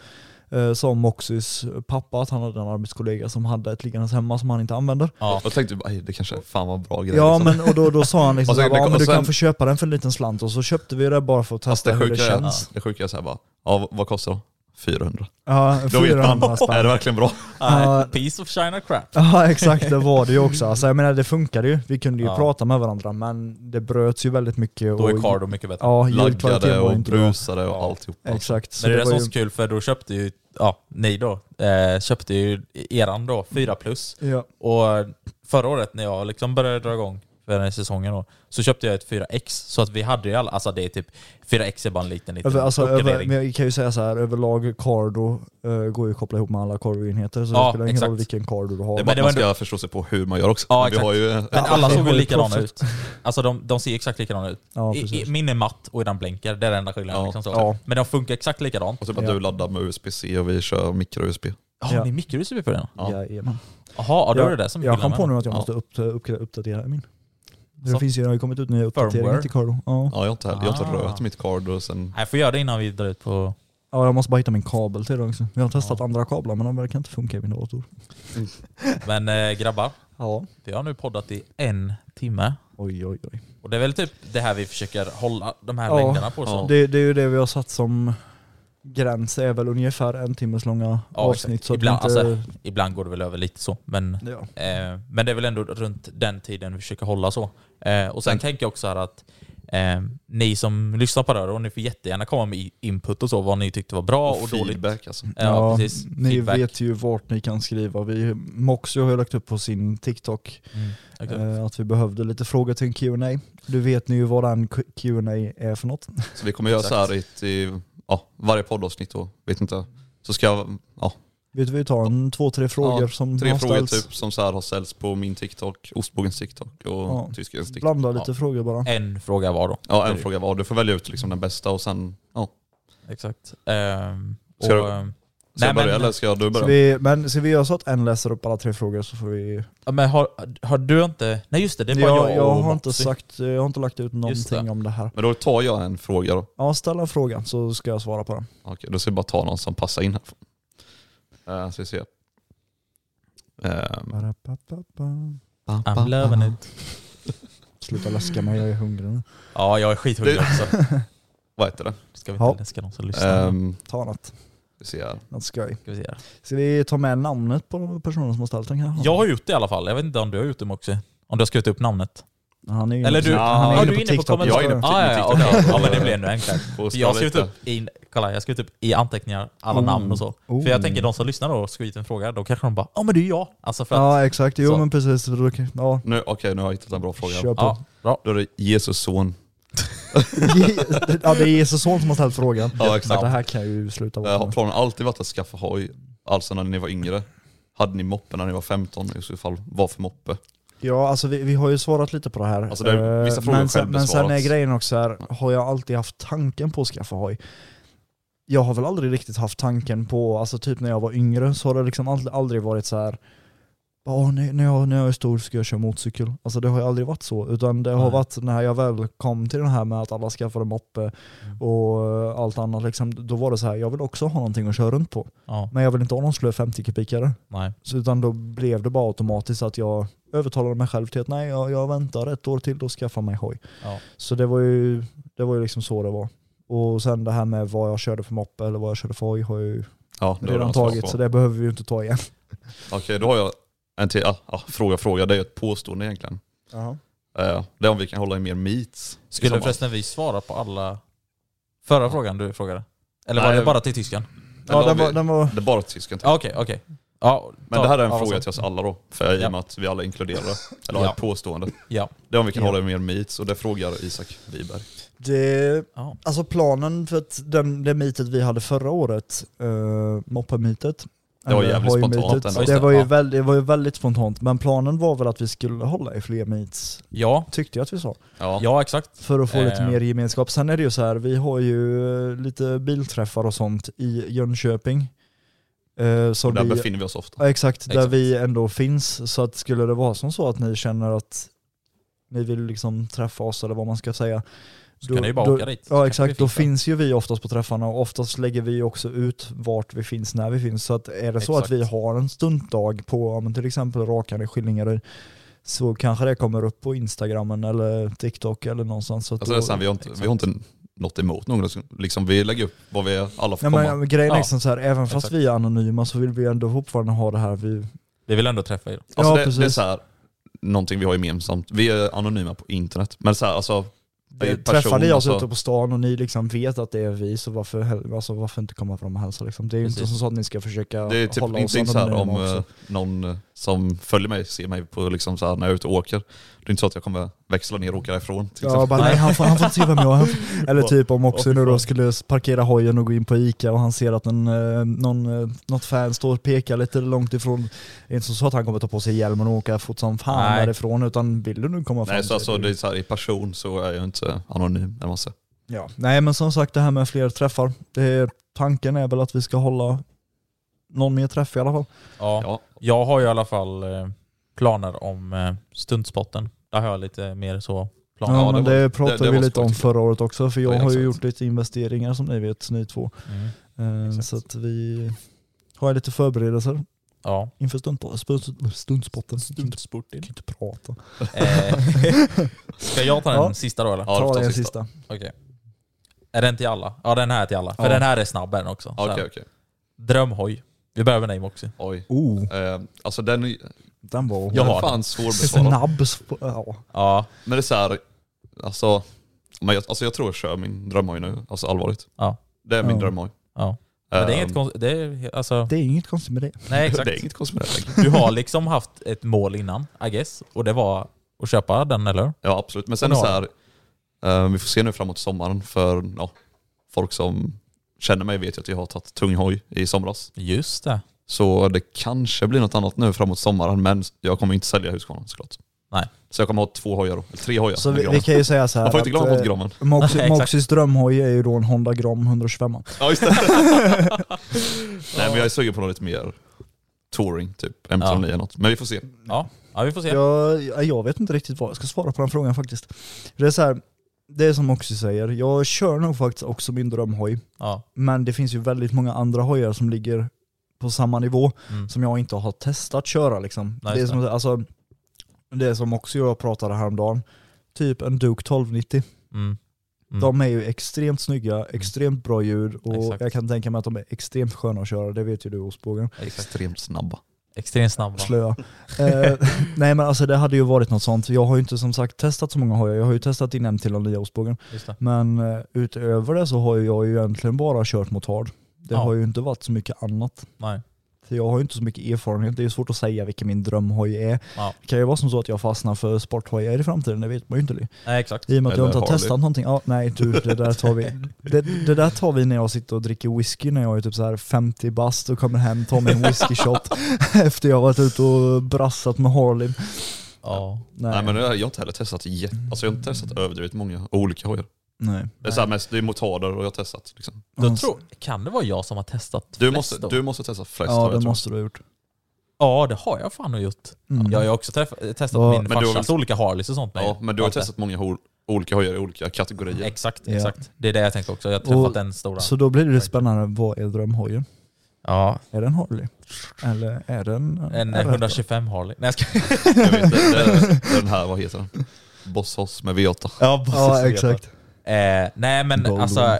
C: eh, sa Moxys pappa att han hade en arbetskollega som hade ett liggandes hemma som han inte använder.
B: Ja.
D: Jag tänkte, "Aj, det kanske är fan vad bra grej.
C: Ja
D: liksom.
C: men och då, då sa han liksom
D: Och sen-
C: såhär, ja, men
D: och
C: du
D: sen-
C: kan få köpa den för en liten slant och så köpte vi det bara för att
D: Fast det
C: testa hur det
D: sjuka är,
C: känns.
D: det sjuka är såhär bara, ja, vad- vad kostar de? 400.
C: Ja,
D: Då vet
C: 400
D: man, är det
C: spänn.
D: verkligen bra?
B: Nej,
C: Ja.
B: piece of China crap.
C: Ja exakt, det var det ju också. Alltså, jag menar det funkade ju, vi kunde ju
B: Ja.
C: prata med varandra men det bröts ju väldigt mycket.
B: Då är
C: och-
B: Cardo mycket bättre.
C: Ja, ljudkvaliteten
D: Laggade
C: var ju
D: och
C: inte bra.
D: brusade och
B: Ja.
D: alltihop. Alltså.
C: Exakt. så
B: Men det, är det
C: var
B: som är
C: ju-
B: så kul för då köpte ju, ja ni då, eh, köpte ju eran då, 4 plus.
C: Ja.
B: Och förra året när jag liksom började dra igång för den här säsongen då, så köpte jag ett 4x. Så att vi hade ju alla, alltså det är typ, 4x är bara en liten liten
C: Över, alltså, över,
B: uppgradering.
C: men jag kan ju säga så här, överlag Cardo eh, går ju att koppla ihop med alla Cardo-enheter så
B: Ja,
C: det spelar ingen
B: exakt.
C: roll vilken Cardo du har.
B: Det är
D: Men
B: bara-
D: det man ska förstå sig på hur man gör också.
B: Ja,
D: vi har
B: exakt.
D: ju
B: men
D: ett,
B: alla
C: det
B: såg
C: var
B: ju
C: ju
B: likadana
C: proffsigt.
B: ut. Alltså de, de ser exakt likadana ut.
C: Ja,
B: I,
C: precis.
B: i, min är matt och den blänker, det är den enda skillnaden.
D: Ja.
B: Liksom så.
C: Ja.
B: Men de funkar exakt likadant.
D: och typ att
C: Ja.
D: du laddar med USB-C och vi kör micro-USB.
B: Har
C: Ja.
B: ni mikroUSB på den?
D: Ja.
C: Jajamän.
B: Jaha, ja, då är
C: Jag-
B: det det som
C: Jag
B: killar
C: kom
B: med
C: på
B: den.
C: nu att jag
B: Ja.
C: måste upp, upp, uppdatera min. Det
B: Så-
C: finns ju, det har ju kommit ut nya uppdateringar
B: Firmware.
C: till Cardo. Ja.
D: Ja, jag har inte, heller- jag har inte
B: Ah.
D: rört mitt card och sen...
B: Nej, jag får göra det innan vi drar ut på...
C: ja, jag måste bara hitta min kabel till den också. Jag har testat andra kablar men de verkar inte funka i min dator.
B: Men eh, grabbar,
C: Ja.
B: vi har nu poddat i en timme.
C: Oj oj oj.
B: Och det är väl typ det här vi försöker hålla de här
C: Ja.
B: längderna på. Så.
C: Det, det är ju det vi har satt som gräns, är väl ungefär en timmes långa
B: Ja, exakt.
C: avsnitt. Så att vi
B: ibland,
C: inte,
B: alltså, ibland går det väl över lite så, men,
C: Ja.
B: eh, men det är väl ändå runt den tiden vi försöker hålla så. Eh, och
C: Mm.
B: sen tänker jag också här att eh, ni som lyssnar på det här, och ni får jättegärna komma med i- input och så, vad ni tyckte var bra och, dåligt.
D: feedback alltså.
B: Ja, precis.
C: Ni
B: Feedback.
C: vet ju vart ni kan skriva. Vi, Moxio har ju lagt upp på sin TikTok
B: Mm, exakt.
C: eh, att vi behövde lite frågor till en Q&A. Du vet ni ju vad den Q- Q&A är för något.
D: Så vi kommer göra så
B: Exakt.
D: här i, ett- i ja, varje poddavsnitt då, vet inte. Så ska jag, ja,
C: Vet du, vi tar en två, tre frågor
D: Ja,
C: som
D: tre
C: har
D: frågor
C: ställts.
D: typ som så här har ställts på min TikTok, Ostbågens TikTok och
C: Ja.
D: Tyskens TikTok.
C: Blanda lite
B: typ. Ja.
C: frågor bara.
B: En fråga var då.
D: Ja, en fråga var. Du får välja ut liksom den bästa och sen, ja.
B: Exakt. Ehm, och,
D: Ska du-
B: ehm,
D: Ska
B: Nej,
D: jag börja
B: men-
D: eller ska jag, du
C: Så
D: börja?
C: vi, men ska vi göra så att en läser upp alla tre frågor så får vi...
B: ja, men har, har du inte... Nej just det, det är bara
C: jag,
B: jag,
C: jag,
B: och
C: har inte
B: Mopsy.
C: sagt, jag har inte lagt ut någonting
B: det.
C: om det här.
D: Men då tar jag en fråga då.
C: Ja, ställ en fråga så ska jag svara på den.
D: Okej, då ska jag bara ta någon som passar in här. Eh, ska vi se. Ehm,
B: I'm loving it.
C: Sluta läska mig, jag är hungrig nu.
B: Ja, jag är skithungrig
D: Det-
B: också.
D: vad heter det?
B: Ska vi
C: Ja.
B: inte läska någon som lyssnar?
D: Ehm,
C: Ta något,
D: vi ser här.
C: något skoj.
B: Ska vi se här.
C: Ska vi ta med namnet på personen som har ställt den kanske?
B: Jag har gjort det i alla fall. Jag vet inte om du har gjort det också. Om du har skrivit upp namnet.
C: Han är ju
B: Eller du- ja,
C: han är
B: du
C: inne
B: är
C: på
B: inne på
C: TikTok.
B: kommentarer.
C: Mm. jag är inne på-
B: Ah, ja, ja,
D: TikTok.
B: okej. ja, men det blir ännu enklare.
D: Får
B: Jag har
D: scrolla
B: skrivit
D: lite.
B: upp i, kolla, jag har skrivit upp i anteckningar alla
C: Oh.
B: namn och så.
C: Oh.
B: För jag tänker de som lyssnar då och skriver en fråga, då kanske de bara ja men det är jag. Alltså för att,
C: Ja exakt, jo
B: Så.
C: men precis. Då kan- Ja,
D: Nu, okej, nu har jag hittat en bra fråga.
C: kör på.
B: ja, bra.
D: Då är det Jesus son.
C: ja det är Jesus son som har ställt frågan.
D: Ja, exakt.
C: Det här kan ju sluta
D: Eh,
C: vara
D: Har planen alltid varit att skaffa hoj? Alltså när ni var yngre? Hade ni moppe när ni var 15? I så fall, vad för moppe?
C: Ja, alltså vi, vi har ju svarat lite på det här.
D: Alltså, det är vissa
C: Eh,
D: frågor
C: men, sen, men sen är
D: självbesvarats.
C: grejen också här, har jag alltid haft tanken på att skaffa hoj? Jag har väl aldrig riktigt haft tanken på, alltså typ när jag var yngre så har det liksom aldrig, aldrig varit så här. "Åh, när, när, jag, när jag är stor ska jag köra motorcykel. Alltså det har ju aldrig varit så, utan det har
B: Nej.
C: varit när jag väl kom till den här med att alla skaffade moppe
B: Mm.
C: och eh, allt annat, liksom, då var det så här, jag vill också ha någonting att köra runt på.
B: Ja,
C: Men jag vill inte ha någon slö 50 kubikare.
B: nej.
C: Så, utan då blev det bara automatiskt att jag övertalade mig själv till att nej, jag, jag väntar ett år till och skaffar mig hoj.
B: Ja.
C: Så det var, ju, det var ju liksom så det var. Och sen det här med vad jag körde för moppe eller vad jag körde för hoj har jag ju
D: Ja, det har
C: redan
D: jag svarat
C: tagit,
D: på.
C: så det behöver vi ju inte ta igen.
D: Okej, då har jag en till. Ah, ah, fråga, fråga. Det är ju ett påstående egentligen. Eh, det är om vi kan hålla i mer meets. i
B: Skulle
D: sommar.
B: förresten vi svara på alla förra frågan du frågade? Eller var
D: Nej.
B: det bara till tyskan?
C: Ja,
D: Eller
C: den
D: har
C: var,
D: vi-
C: den var,
D: Det är bara tysken.
B: Ja, Okej, okej. Ja,
D: Men
B: ta-
D: det här är en
B: ja,
D: fråga
B: så.
D: till oss alla då, för i
B: Ja.
D: och med att vi alla inkluderar det. Eller har
B: Ja.
D: ett påstående.
B: Ja.
D: Det är om vi kan
C: Ja.
D: hålla i mer meets och det frågar Isak Wiberg.
C: det,
B: Ja.
C: alltså planen för att den, det meetet vi hade förra året, uh, moppe-meetet,
D: Det var
C: eller
D: jävligt
C: hoj-meetet,
D: spontant ändå.
B: Just
C: Det
B: det,
C: var, ju
B: ja.
C: väldigt, det var ju väldigt spontant, men planen var väl att vi skulle hålla i fler meets,
B: Ja,
C: tyckte jag att vi sa.
D: Ja.
B: ja exakt.
C: För att få lite
B: Eh.
C: mer gemenskap. Sen är det ju så här, vi har ju eh, lite bilträffar och sånt i Jönköping. Eh, som
D: Och där
C: vi,
D: befinner vi oss ofta.
C: ja, exakt, där
B: Exakt.
C: vi ändå finns. Så att skulle det vara som så att ni känner att ni vill liksom träffa oss eller vad man ska säga.
B: Så kan ni ju bara
C: då,
B: åka dit. Så
C: Ja
B: kanske
C: exakt,
B: vi
C: då
B: fixar.
C: finns ju vi oftast på träffarna och oftast lägger vi också ut vart vi finns när vi finns. Så att är det så att
B: Exakt.
C: vi har en stuntdag på ja, men till exempel Rakan i Skillingaryd så kanske det kommer upp på Instagramen eller TikTok eller någonstans. Så att
D: Alltså det är
C: då-
D: så här, vi har inte, vi har inte något emot någon. Liksom, vi lägger upp vad vi alla får
C: Ja,
D: komma.
C: men grejen är
B: Ja.
C: liksom så här, även fast
B: Exakt.
C: vi är anonyma så vill vi ändå fortfarande ha det här. Vi,
B: Vi vill ändå träffa er.
C: Ja,
D: Alltså det, det är
C: precis.
D: så här, någonting vi har gemensamt. Vi är anonyma på internet. Men så här, alltså, det är
C: träffar ni oss
D: alltså,
C: ute på stan och ni liksom vet att det är vi så varför, hel- alltså, varför inte komma fram och hälsa? Liksom? Det är ju inte
B: Precis.
C: som så att ni ska försöka
D: Det är typ
C: hålla oss
D: inte så här om
C: anonyma också.
D: eh, någon eh, som följer mig ser mig på liksom så här, när jag är ute och åker. Det är inte så att jag kommer växla ner och åka därifrån. Till
C: Ja,
D: exempel.
C: bara, nej, han, får, han får inte se vem jag är. Eller typ om också
B: Åh, fy
C: nu då
B: fan.
C: skulle parkera hojen och gå in på Ica och han ser att en, eh, någon, eh, något fan står och pekar lite långt ifrån. Det är inte så att han kommer ta på sig hjälmen och åka fort som fan
B: Nej.
C: därifrån utan vill du nu komma fram
D: Nej, så
C: så
D: alltså,
C: är det
D: det
C: ju-
D: är så här, i person så är jag inte anonym. Eller vad man säger.
C: Ja. Nej men som sagt det här med fler träffar. Det är, tanken är väl att vi ska hålla någon mer träff i alla fall.
B: Ja.
D: Ja.
B: Jag har ju i alla fall eh, planer om eh, stuntspotten. Där har jag lite mer så
C: Ja,
B: planer.
D: Ja,
C: men
D: det
C: det,
D: var-
C: pratade
D: det- det
C: vi
D: var
C: lite om
D: faktiskt-
C: förra året också, för jag
D: Ja,
C: har ju
D: exakt.
C: gjort lite investeringar som ni vet, ni två.
B: Mm.
C: Eh,
D: Exakt.
C: Så att vi har lite förberedelser
B: Ja.
C: inför stundpo- stund- stundspotten. Jag
B: Stuntsporten.
C: kan inte prata.
B: Eh, ska jag ta den
C: Ja.
B: sista då eller?
D: Ja, du får
C: Ta
D: ta
C: den
D: sista.
C: sista.
B: Okej. Är den till alla? Ja den här är till alla. För
C: Ja.
B: den här är snabbare också. Så
D: Okej,
B: här.
D: okej.
B: Drömhoj. Vi börjar med dig Moxie.
D: Oj.
C: Oh,
D: Eh, alltså den, är-
C: den var
B: Jag
D: den
B: har
D: är
B: den.
D: fan svårbesvarad.
C: snabb. sp- Ja.
B: Ja.
D: Men det är såhär, alltså, men jag, alltså jag tror jag kör min drömhoj nu. Alltså allvarligt.
B: Ja.
D: Det är min
C: Ja.
D: drömhoj.
B: ja. Men det är
D: Ehm,
B: inget konstigt. Det är, alltså,
C: Det är inget konstigt med det.
B: nej exakt.
D: Det är inget konstigt med det längre.
B: Du har liksom haft ett mål innan, I guess. Och det var att köpa den eller?
D: Ja absolut. Men sen är det såhär, eh, vi får se nu framåt sommaren för ja, folk som känner mig vet ju att jag har tagit tung hoj i somras.
B: Just det.
D: Så det kanske blir något annat nu framåt sommaren men jag kommer inte sälja Husqvarna såklart.
B: Nej.
D: Så jag kommer ha två hojar då, eller tre hojar.
C: Så
D: med
C: vi,
D: Granen.
C: vi kan ju säga så här
D: Man får inte glömma bort
C: eh,
D: Granen.
C: Moxie-
B: Nej, exakt.
C: Moxies drömhoj är ju då en Honda Gram 125.
D: Ja just det. Nej men jag är sugen på något lite mer touring, typ M39 eller något. Men vi får se.
B: Ja, ja vi får se.
C: Jag, ja, jag vet inte riktigt vad jag ska svara på den frågan faktiskt. Det är så här, det är som Moxie säger, jag kör nog faktiskt också min drömhoj.
B: Ja.
C: Men det finns ju väldigt många andra hojar som ligger på samma nivå
B: Mm.
C: som jag inte har testat köra liksom.
B: Nej,
C: det, är
B: just
C: som, alltså, det är som också jag pratade häromdagen, typ en Duke 1290.
B: Mm. Mm.
C: De är ju extremt snygga, extremt bra ljud och
B: Exakt.
C: jag kan tänka mig att de är extremt sköna att köra, det vet ju du Osbågen.
B: Exakt.
D: Extremt snabba.
B: Extremt snabba.
C: Slöa. eh, nej men alltså det hade ju varit något sånt. Jag har ju inte som sagt testat så många hojar, jag har ju testat in en till och nya Osbågen.
B: Just det.
C: Men eh, utöver det så har ju jag ju egentligen bara kört motard. Det
B: Ja.
C: har ju inte varit så mycket annat.
B: Nej.
C: För jag har ju inte så mycket erfarenhet, det är ju svårt att säga vilken min drömhoj är.
B: Ja.
C: Det kan ju vara som så att jag fastnar för sporthojar i framtiden, det vet man ju inte. Li.
B: Nej, exakt.
C: I och med att jag
D: Eller
C: inte har
D: Harley.
C: testat någonting. Ja, nej du, det där tar vi. Det, det där tar vi när jag sitter och dricker whisky när jag är typ så här 50 bast och kommer hem, tar mig en whiskyshot efter jag har varit ute och brassat med Harley.
B: Ja.
C: Nej,
D: Nej, men jag, jag har inte heller testat jätte, alltså jag har inte testat överdrivet många olika hojar.
C: nej.
D: Det är, så här mest, det är motarder och jag har testat. Liksom.
C: Mm.
B: Då tror, kan det vara jag som har testat
D: Du,
B: flest
D: måste,
B: då?
D: du måste testa flest
C: Ja
D: hojar
C: det
D: tror jag.
C: måste du ha gjort.
B: Ja, det har jag fan nog gjort.
C: Mm.
B: Jag har ju också träff- testat
C: Ja.
B: min
D: Men du har
B: farsas
D: väl-
B: olika Harleys och sånt med.
D: Ja, men du har
B: Allt det.
D: testat många hol, olika hojar i olika kategorier.
B: Exakt,
C: Ja.
B: exakt. Det är det jag tänker också. Jag har träffat
C: Och-
B: den stora.
C: Så då blir det spännande, vad är drömhojen?
B: Ja,
C: Är det en Harley? Eller är det en...
B: en
C: är det-
B: 125 Harley. Nej, jag ska...
D: Jag vet, det, det, är- den här, vad heter den? Bosshoss med V8.
B: ja,
C: Ja exakt.
B: Eh, nej men
C: Golden.
B: alltså,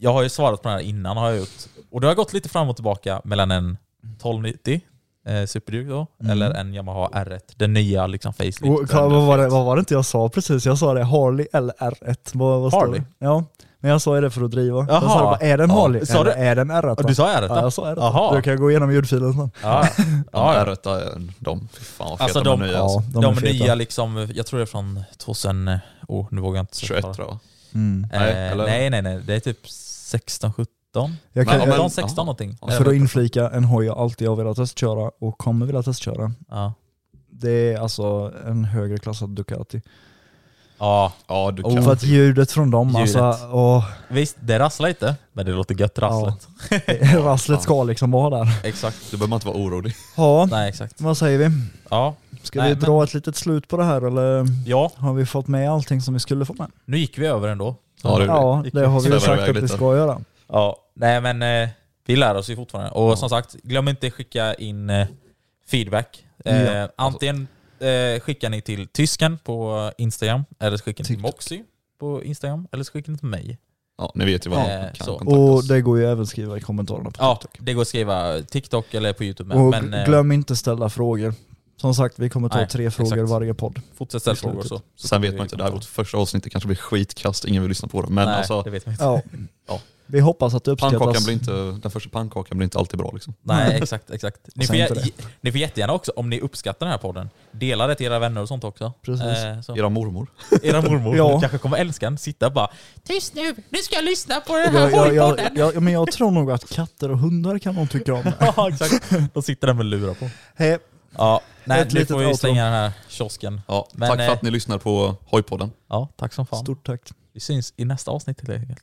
B: jag har ju svarat på den här innan har jag gjort. Och det har gått lite fram och tillbaka mellan en 1290 eh, Superduke då,
C: Mm.
B: eller en Yamaha R1. Den nya liksom facelift.
C: Och, kolla, vad, var det, vad var det inte jag sa precis? Jag sa det, Harley eller R1. Vad, vad står
B: Harley?
C: det? Ja, men jag sa ju det för att driva. Jag
B: Jaha.
C: sa bara, är det en
B: Ja.
C: Harley
B: Sa
C: eller
B: du-
C: är det en R1?
B: Ja, du sa R1?
C: Ja, jag sa R1.
B: Jaha.
C: Du kan gå igenom ljudfilen sen.
B: Ja,
D: Ja,
B: ja, ja.
D: R1 är de, fy fan vad feta
B: Alltså,
D: de är
B: de-
D: nya. Alltså.
C: Ja,
B: De,
C: de, är feta.
B: nya liksom, jag tror det är från 2000, oh, nu vågar jag inte
D: 21
B: säga.
D: tror jag.
C: Mm.
B: Eh,
D: Nej,
B: nej,
D: eller?
B: nej, nej, Det är typ 16, 17.
C: Jag kan,
D: Ja, men-
B: 15, 16
D: ja.
B: någonting.
D: Ja,
B: Nej,
C: för
B: jag vet
C: att
B: inte.
C: inflika, en hoj jag alltid har velat testköra och kommer vilja testköra.
B: Ja,
C: Det är alltså en högre klassad Ducati.
B: ja
D: Ja, du
C: Oh. För
D: kan.
C: att ljudet från dem alltså,
B: Oh. Ljudet.
C: åh,
B: visst det rasslar lite, men det låter gött rasslet.
C: rasslet ska liksom vara där.
B: Exakt.
D: Du behöver inte vara orolig.
C: Ja,
B: Nej, exakt.
C: vad säger vi?
B: Ja,
C: Ska
B: Nej,
C: vi
B: men-
C: dra ett litet slut på det här eller
B: ja,
C: har vi fått med allting som vi skulle få med?
B: nu gick vi över ändå. Så-
D: Ja, det gjorde
C: Ja, det har vi ju
D: Svävar
C: sagt
D: iväg
C: att vi
D: lite.
C: ska göra.
B: Ja, nej men eh, vi lär oss ju fortfarande. Och som sagt, glöm inte skicka in eh, feedback. Eh,
C: Ja. alltså-
B: Antingen eh, skickar ni till tysken på Instagram, eller så skickar ni till
C: TikTok.
B: Moxie på Instagram, eller så skickar ni till mig.
D: Ja, ni vet ju vad
B: Ja,
D: ni kan
B: Eh, så.
D: kontakta
C: Och
D: oss.
C: det går ju även att skriva i kommentarerna på
B: Ja,
C: TikTok.
B: det går att skriva TikTok eller på Youtube med.
C: Och
B: men eh,
C: glöm inte ställa frågor. Som sagt, vi kommer ta
B: Nej,
C: tre frågor
B: exakt.
C: varje podd.
B: fortsätt ställa
C: i slutet.
B: frågor så. så
D: Sen
B: kommer
D: vet
B: vi
D: man inte, det
B: komma
D: här vårt första avsnitt kanske blir skitkast, ingen vill lyssna på det. Men
B: Nej,
D: alltså,
B: det vet man inte.
C: Ja.
D: Ja.
C: Vi hoppas att det uppskattas.
D: pannkakan blir inte, den första pannkakan blir inte alltid bra liksom.
B: Nej, exakt. exakt. Ni,
C: Och
B: får,
C: sen
B: jä-
C: inte det.
B: ge- ni får jättegärna också, om ni uppskattar den här podden, dela det till era vänner och sånt också.
C: Precis.
B: Eh, så.
D: Era mormor.
B: Era mormor
C: Ja.
B: kanske kommer älska den, sitta bara Tyst nu, nu ska jag lyssna på den här
C: Jag, jag, jag,
B: podden.
C: jag, ja, men jag tror nog att katter och hundar kan de tycka om.
B: Ja, exakt. De sitter där med lurar på.
C: Hej.
B: Ja, nej,
C: Ett
B: nu
C: litet
B: får vi
C: outro.
B: stänga den här kiosken.
D: Ja,
B: Men,
D: tack för
B: eh,
D: att ni lyssnar på Hojpodden.
B: Ja, tack som fan.
C: Stort tack.
B: Vi syns i nästa avsnitt helt enkelt.